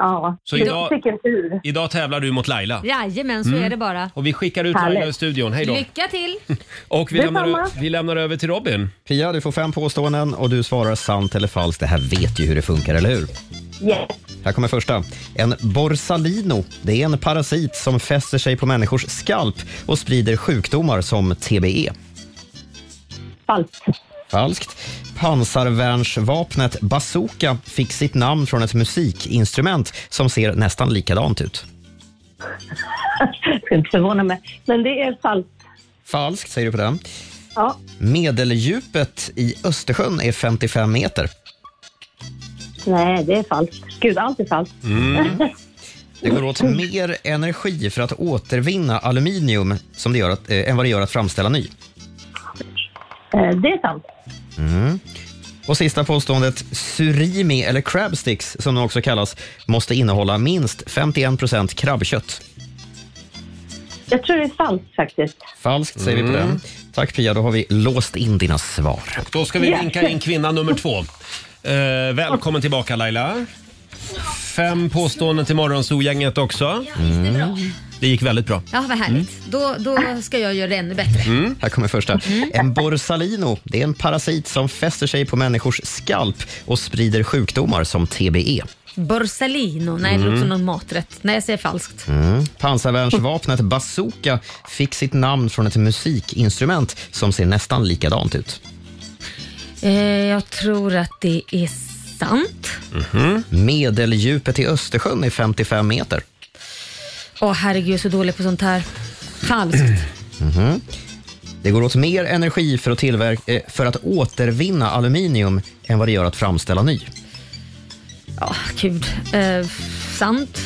Ja,
Så
det-
idag-
vilken tur.
Idag tävlar du mot Laila.
Jajamän, så
Mm.
är det bara.
Och vi skickar ut Laila
Härligt.
ur studion. Hej då. Mm.
Lycka till!
Och vi lämnar,
Detsamma.
vi lämnar över till Robin.
Pia, du får fem påståenden och du svarar sant eller falskt. Det här vet ju hur det funkar, eller hur?
Yes.
Här kommer första. En borsalino, det är en parasit som fäster sig på människors skalp och E. sprider sjukdomar som TBE.
Falskt.
Falskt. Pansarvärnsvapnet bazooka fick sitt namn från ett musikinstrument som ser nästan likadant ut?
Jag ska inte förvåna mig. Men det är falskt.
Falskt, säger du på den.
Ja,
Medeldjupet i Östersjön är 55 meter.
nej, det är falskt. Gud, allt är falskt.
Mm.
Mm.
Eh,
Det går åt mer energi för att återvinna aluminium som det gör att, eh, än vad det gör att framställa ny.
Eh, Det är sant.
Mm. Och sista påståendet, surimi eller crabsticks som de också kallas, måste innehålla minst 51 krabbkött.
Jag tror det är falskt faktiskt.
Falskt säger vi på
Mm.
den. Tack Pia, då har vi låst in dina svar.
Då ska vi
Ja.
vinka in kvinna nummer två. Eh, välkommen tillbaka Laila. Fem påståenden till morgonsogänget också.
Mm.
Det gick väldigt bra.
Ja, vad härligt.
Mm.
Då, då ska jag göra det ännu bättre.
Här kommer första. En borsalino det är en parasit som fäster sig på människors skalp och sprider sjukdomar som E. TBE.
Borsalino. Nej, det låter
Mm.
som någon maträtt. Nej, jag säger falskt.
Mm. Pansarvärnsvapnet bazooka fick sitt namn från ett musikinstrument som ser nästan likadant ut.
Eh, jag tror att det är sant.
Medeldjupet i Östersjön är 55 meter.
Åh herregud, jag är så dålig på sånt här. Falskt.
Mhm. Det går åt mer energi för att, tillverka, eh, för att återvinna aluminium än vad det gör att framställa ny.
Ja, gud. Eh, sant.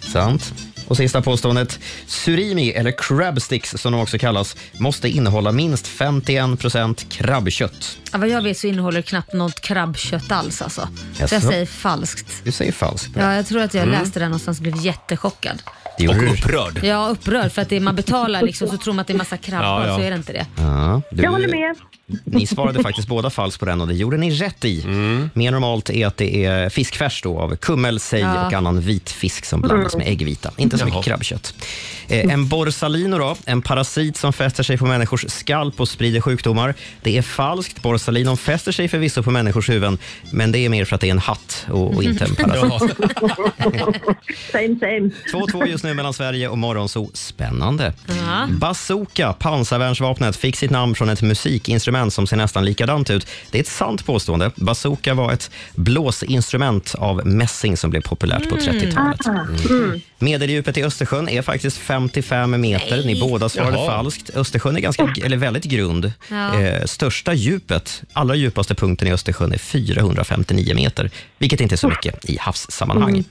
Sant. Och sista påståendet. Surimi, eller crab sticks som de också kallas, måste innehålla minst 51 krabbkött.
Ja, vad jag vet så innehåller det knappt något krabbkött alls alltså. Så jag
Jaså?
säger falskt.
Du säger falskt.
Ja, jag tror att jag
Mm.
läste det någonstans och blev jättechockad.
Och upprörd.
Ja, upprörd för att det man betalar liksom så tror man att det är massa krabbar
Ja, ja.
så är det inte det.
Ja, du-
med.
Ni svarade faktiskt båda falskt på den och det gjorde ni rätt i. Mer normalt är att det är fiskfärs då av kummel, sej
Ja.
och annan vit fisk som blandas med äggvita. Inte så mycket krabbkött. Eh, en borsalino då, en parasit som fäster sig på människors skalp och sprider sjukdomar. Det är falskt. Borsalinon fäster sig förvisso på människors huvuden, men det är mer för att det är en hatt och, och inte en parasit.
same, same.
2-2 just nu mellan Sverige och Morgonzoo. Spännande.
Ja.
Bazooka, pansarvärnsvapnet, fick sitt namn från ett musikinstrument som ser nästan likadant ut. Det är ett sant påstående. Bazooka var ett blåsinstrument av mässing som blev populärt på 30-talet.
Mm.
Medeldjupet i Östersjön är faktiskt 55 meter. Ni båda svarade
Jaha.
falskt. Östersjön är ganska, eller väldigt grund.
Ja.
Eh, största djupet, allra djupaste punkten i Östersjön är 459 meter, vilket inte är så mycket i havssammanhang.
Mm.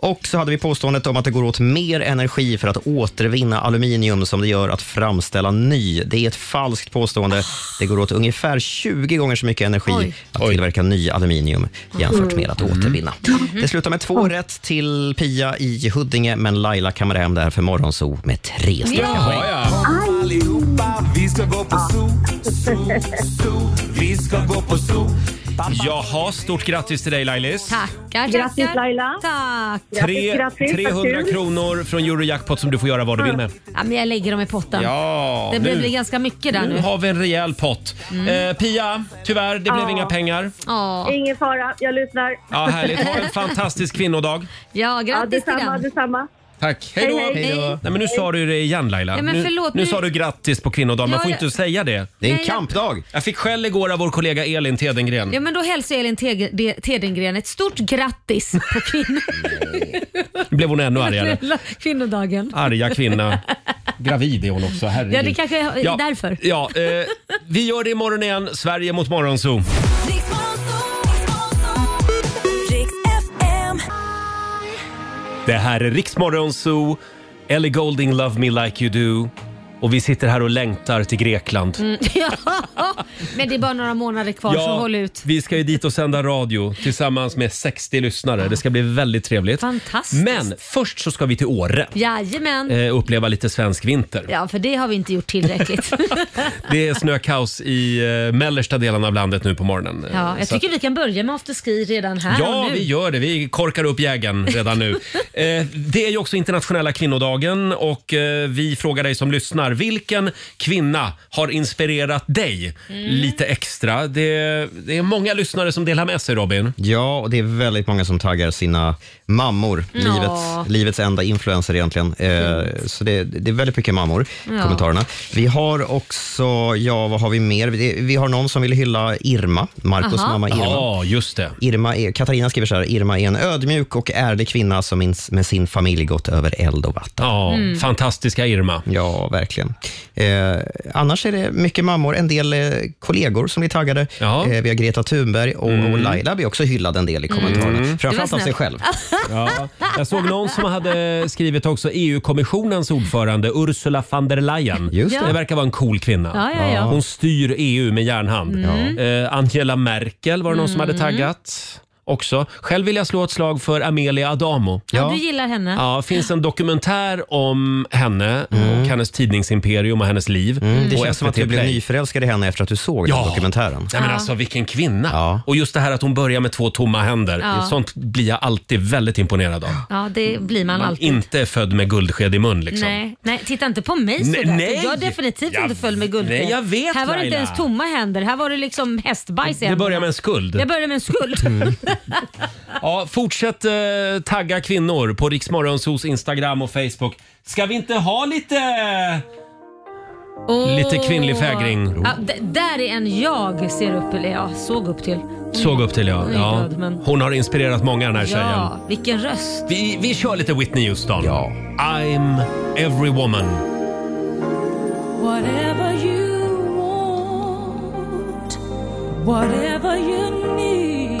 Och så hade vi påståendet om att det går åt mer energi för att återvinna aluminium som det gör att framställa ny. Det är ett falskt påstående. Det går åt ungefär 20 gånger så mycket energi
Oj.
att tillverka ny aluminium jämfört med att
Mm.
återvinna.
Mhm.
Det slutar med två rätt till Pia i Huddinge, men Laila kammar hem det här för Morgonzoo med tre stycken poäng.
Allihopa, vi ska gå på zoo, zoo, zoo. Vi ska gå på zoo.
Jaha, stort grattis till dig Lailis.
Tackar,
Grattis,
tackar.
Laila.
Tack.
Tre- 300 kronor från Eurojackpot som du får göra vad du vill med.
Ja, men jag lägger dem i potten.
Ja,
det blir
nu-
blir ganska mycket där
Nu
nu. Mm.
har vi en rejäl pott. Eh, Pia, tyvärr, det blev
Ja.
inga pengar.
Ingen fara, jag lyssnar.
Ja, härligt. Ha en fantastisk kvinnodag.
Ja, grattis
ja,
till
detsamma,
den.
detsamma.
Tack.
Hej
Hej då.
då. Hej, hej.
Nej, men nu sa du det igen Laila.
Ja, men
nu,
förlåt,
nu
nu-
sa du grattis på kvinnodagen. Man
Ja,
får
jag-
inte säga det.
Det är en Nej, jag-
kampdag.
Jag fick skäll igår av vår kollega Elin Tedengren.
Ja, men då hälsar jag Elin Teg- De- Tedengren ett stort grattis på kvinno-
Nu blev hon ännu argare.
nationella kvinnodagen.
Arga kvinna. Gravid är hon också, herregud.
Ja, det kanske är
Ja,
därför.
Ja, eh, vi gör det imorgon igen. Sverige mot Morgonzoo. Det här är Riksmorgon Zoo, Ellie Golding Love Me Like You Do och vi sitter här och längtar till Grekland.
Mm, ja, men det är bara några månader kvar så håll ut.
vi ska ju dit och sända radio tillsammans med 60 lyssnare. Det ska bli väldigt trevligt.
Fantastiskt.
Men först så ska vi till Åre
Jajamän.
eh, uppleva lite svensk vinter.
Ja, för det har vi inte gjort tillräckligt.
Det är snökaos i eh, mellersta delen av landet nu på morgonen. Eh,
ja, jag
så att-
tycker vi kan börja med afterski redan här och
Ja,
nu.
vi gör det. Vi korkar upp jägen redan nu. eh, det är ju också internationella kvinnodagen och eh, vi frågar dig som lyssnar undrar, vilken kvinna har inspirerat dig
Mm.
lite extra? Det, det är många lyssnare som delar med sig Robin.
Ja, och det är väldigt många som taggar sina mammor.
Ja.
Livets, livets enda influencer egentligen. Eh, så det, det är väldigt mycket mammor i
Ja.
kommentarerna. Vi har också, ja vad har vi mer? Det- Vi har någon som vill hylla Irma, Marcos
Aha.
mamma Irma.
Ja, just det.
Irma är, Katarina skriver så här, Irma är en ödmjuk och ärlig kvinna som ins- med sin familj gått över eld och vatten.
Ja, Mm. fantastiska Irma.
Ja, verkligen. Eh, annars är det mycket mammor, en del eh, kollegor som blir taggade. Eh, vi har Greta Thunberg och, och Laila blir också hyllad en del i kommentarerna.
Mm.
Framförallt av sig själv.
Ja. Jag såg någon som hade skrivit också EU-kommissionens ordförande Ursula von der Leyen.
Just det.
det verkar vara en cool kvinna.
Ja, ja, ja.
Hon styr EU med järnhand.
Mm.
Eh, Angela Merkel var det någon som hade
Mm.
taggat. Också. Själv vill jag slå ett slag för Amelia Adamo.
Ja, du gillar henne.
Ja, finns en dokumentär om henne och hennes tidningsimperium och hennes liv.
Mm. Det
på
känns som att
SVT
du blev
Play.
nyförälskad i henne efter att du såg
Ja.
den dokumentären.
Nej, men
Ja.
alltså vilken kvinna! Och just det här att hon börjar med två tomma händer.
Ja.
Sånt blir jag alltid väldigt imponerad av.
Ja, det blir man,
Man
alltid.
inte är född med guldsked i mun liksom.
Nej, nej, titta inte på mig
Nej,
sådär.
nej.
för Jag är definitivt
Jag-
inte full med guldsked.
nej, jag vet,
Här var det
Laila.
inte ens tomma händer. Här var det liksom hästbajs i
Det börjar
händerna.
med en skuld.
Jag började med en skuld.
Ja, fortsätt eh, tagga kvinnor på Riksmorgonsos Instagram och Facebook. Ska vi inte ha lite...
Åh.
Lite kvinnlig fägring.
Ja, d- där är en jag ser upp, eller ja, såg upp till.
Såg upp till ja.
Mm. Hon är
ja.
död, men-
Hon har inspirerat många den här tjejen.
Ja, vilken röst.
Vi, vi kör lite Whitney Houston. Ja. I'm every woman.
Whatever you want, whatever you need,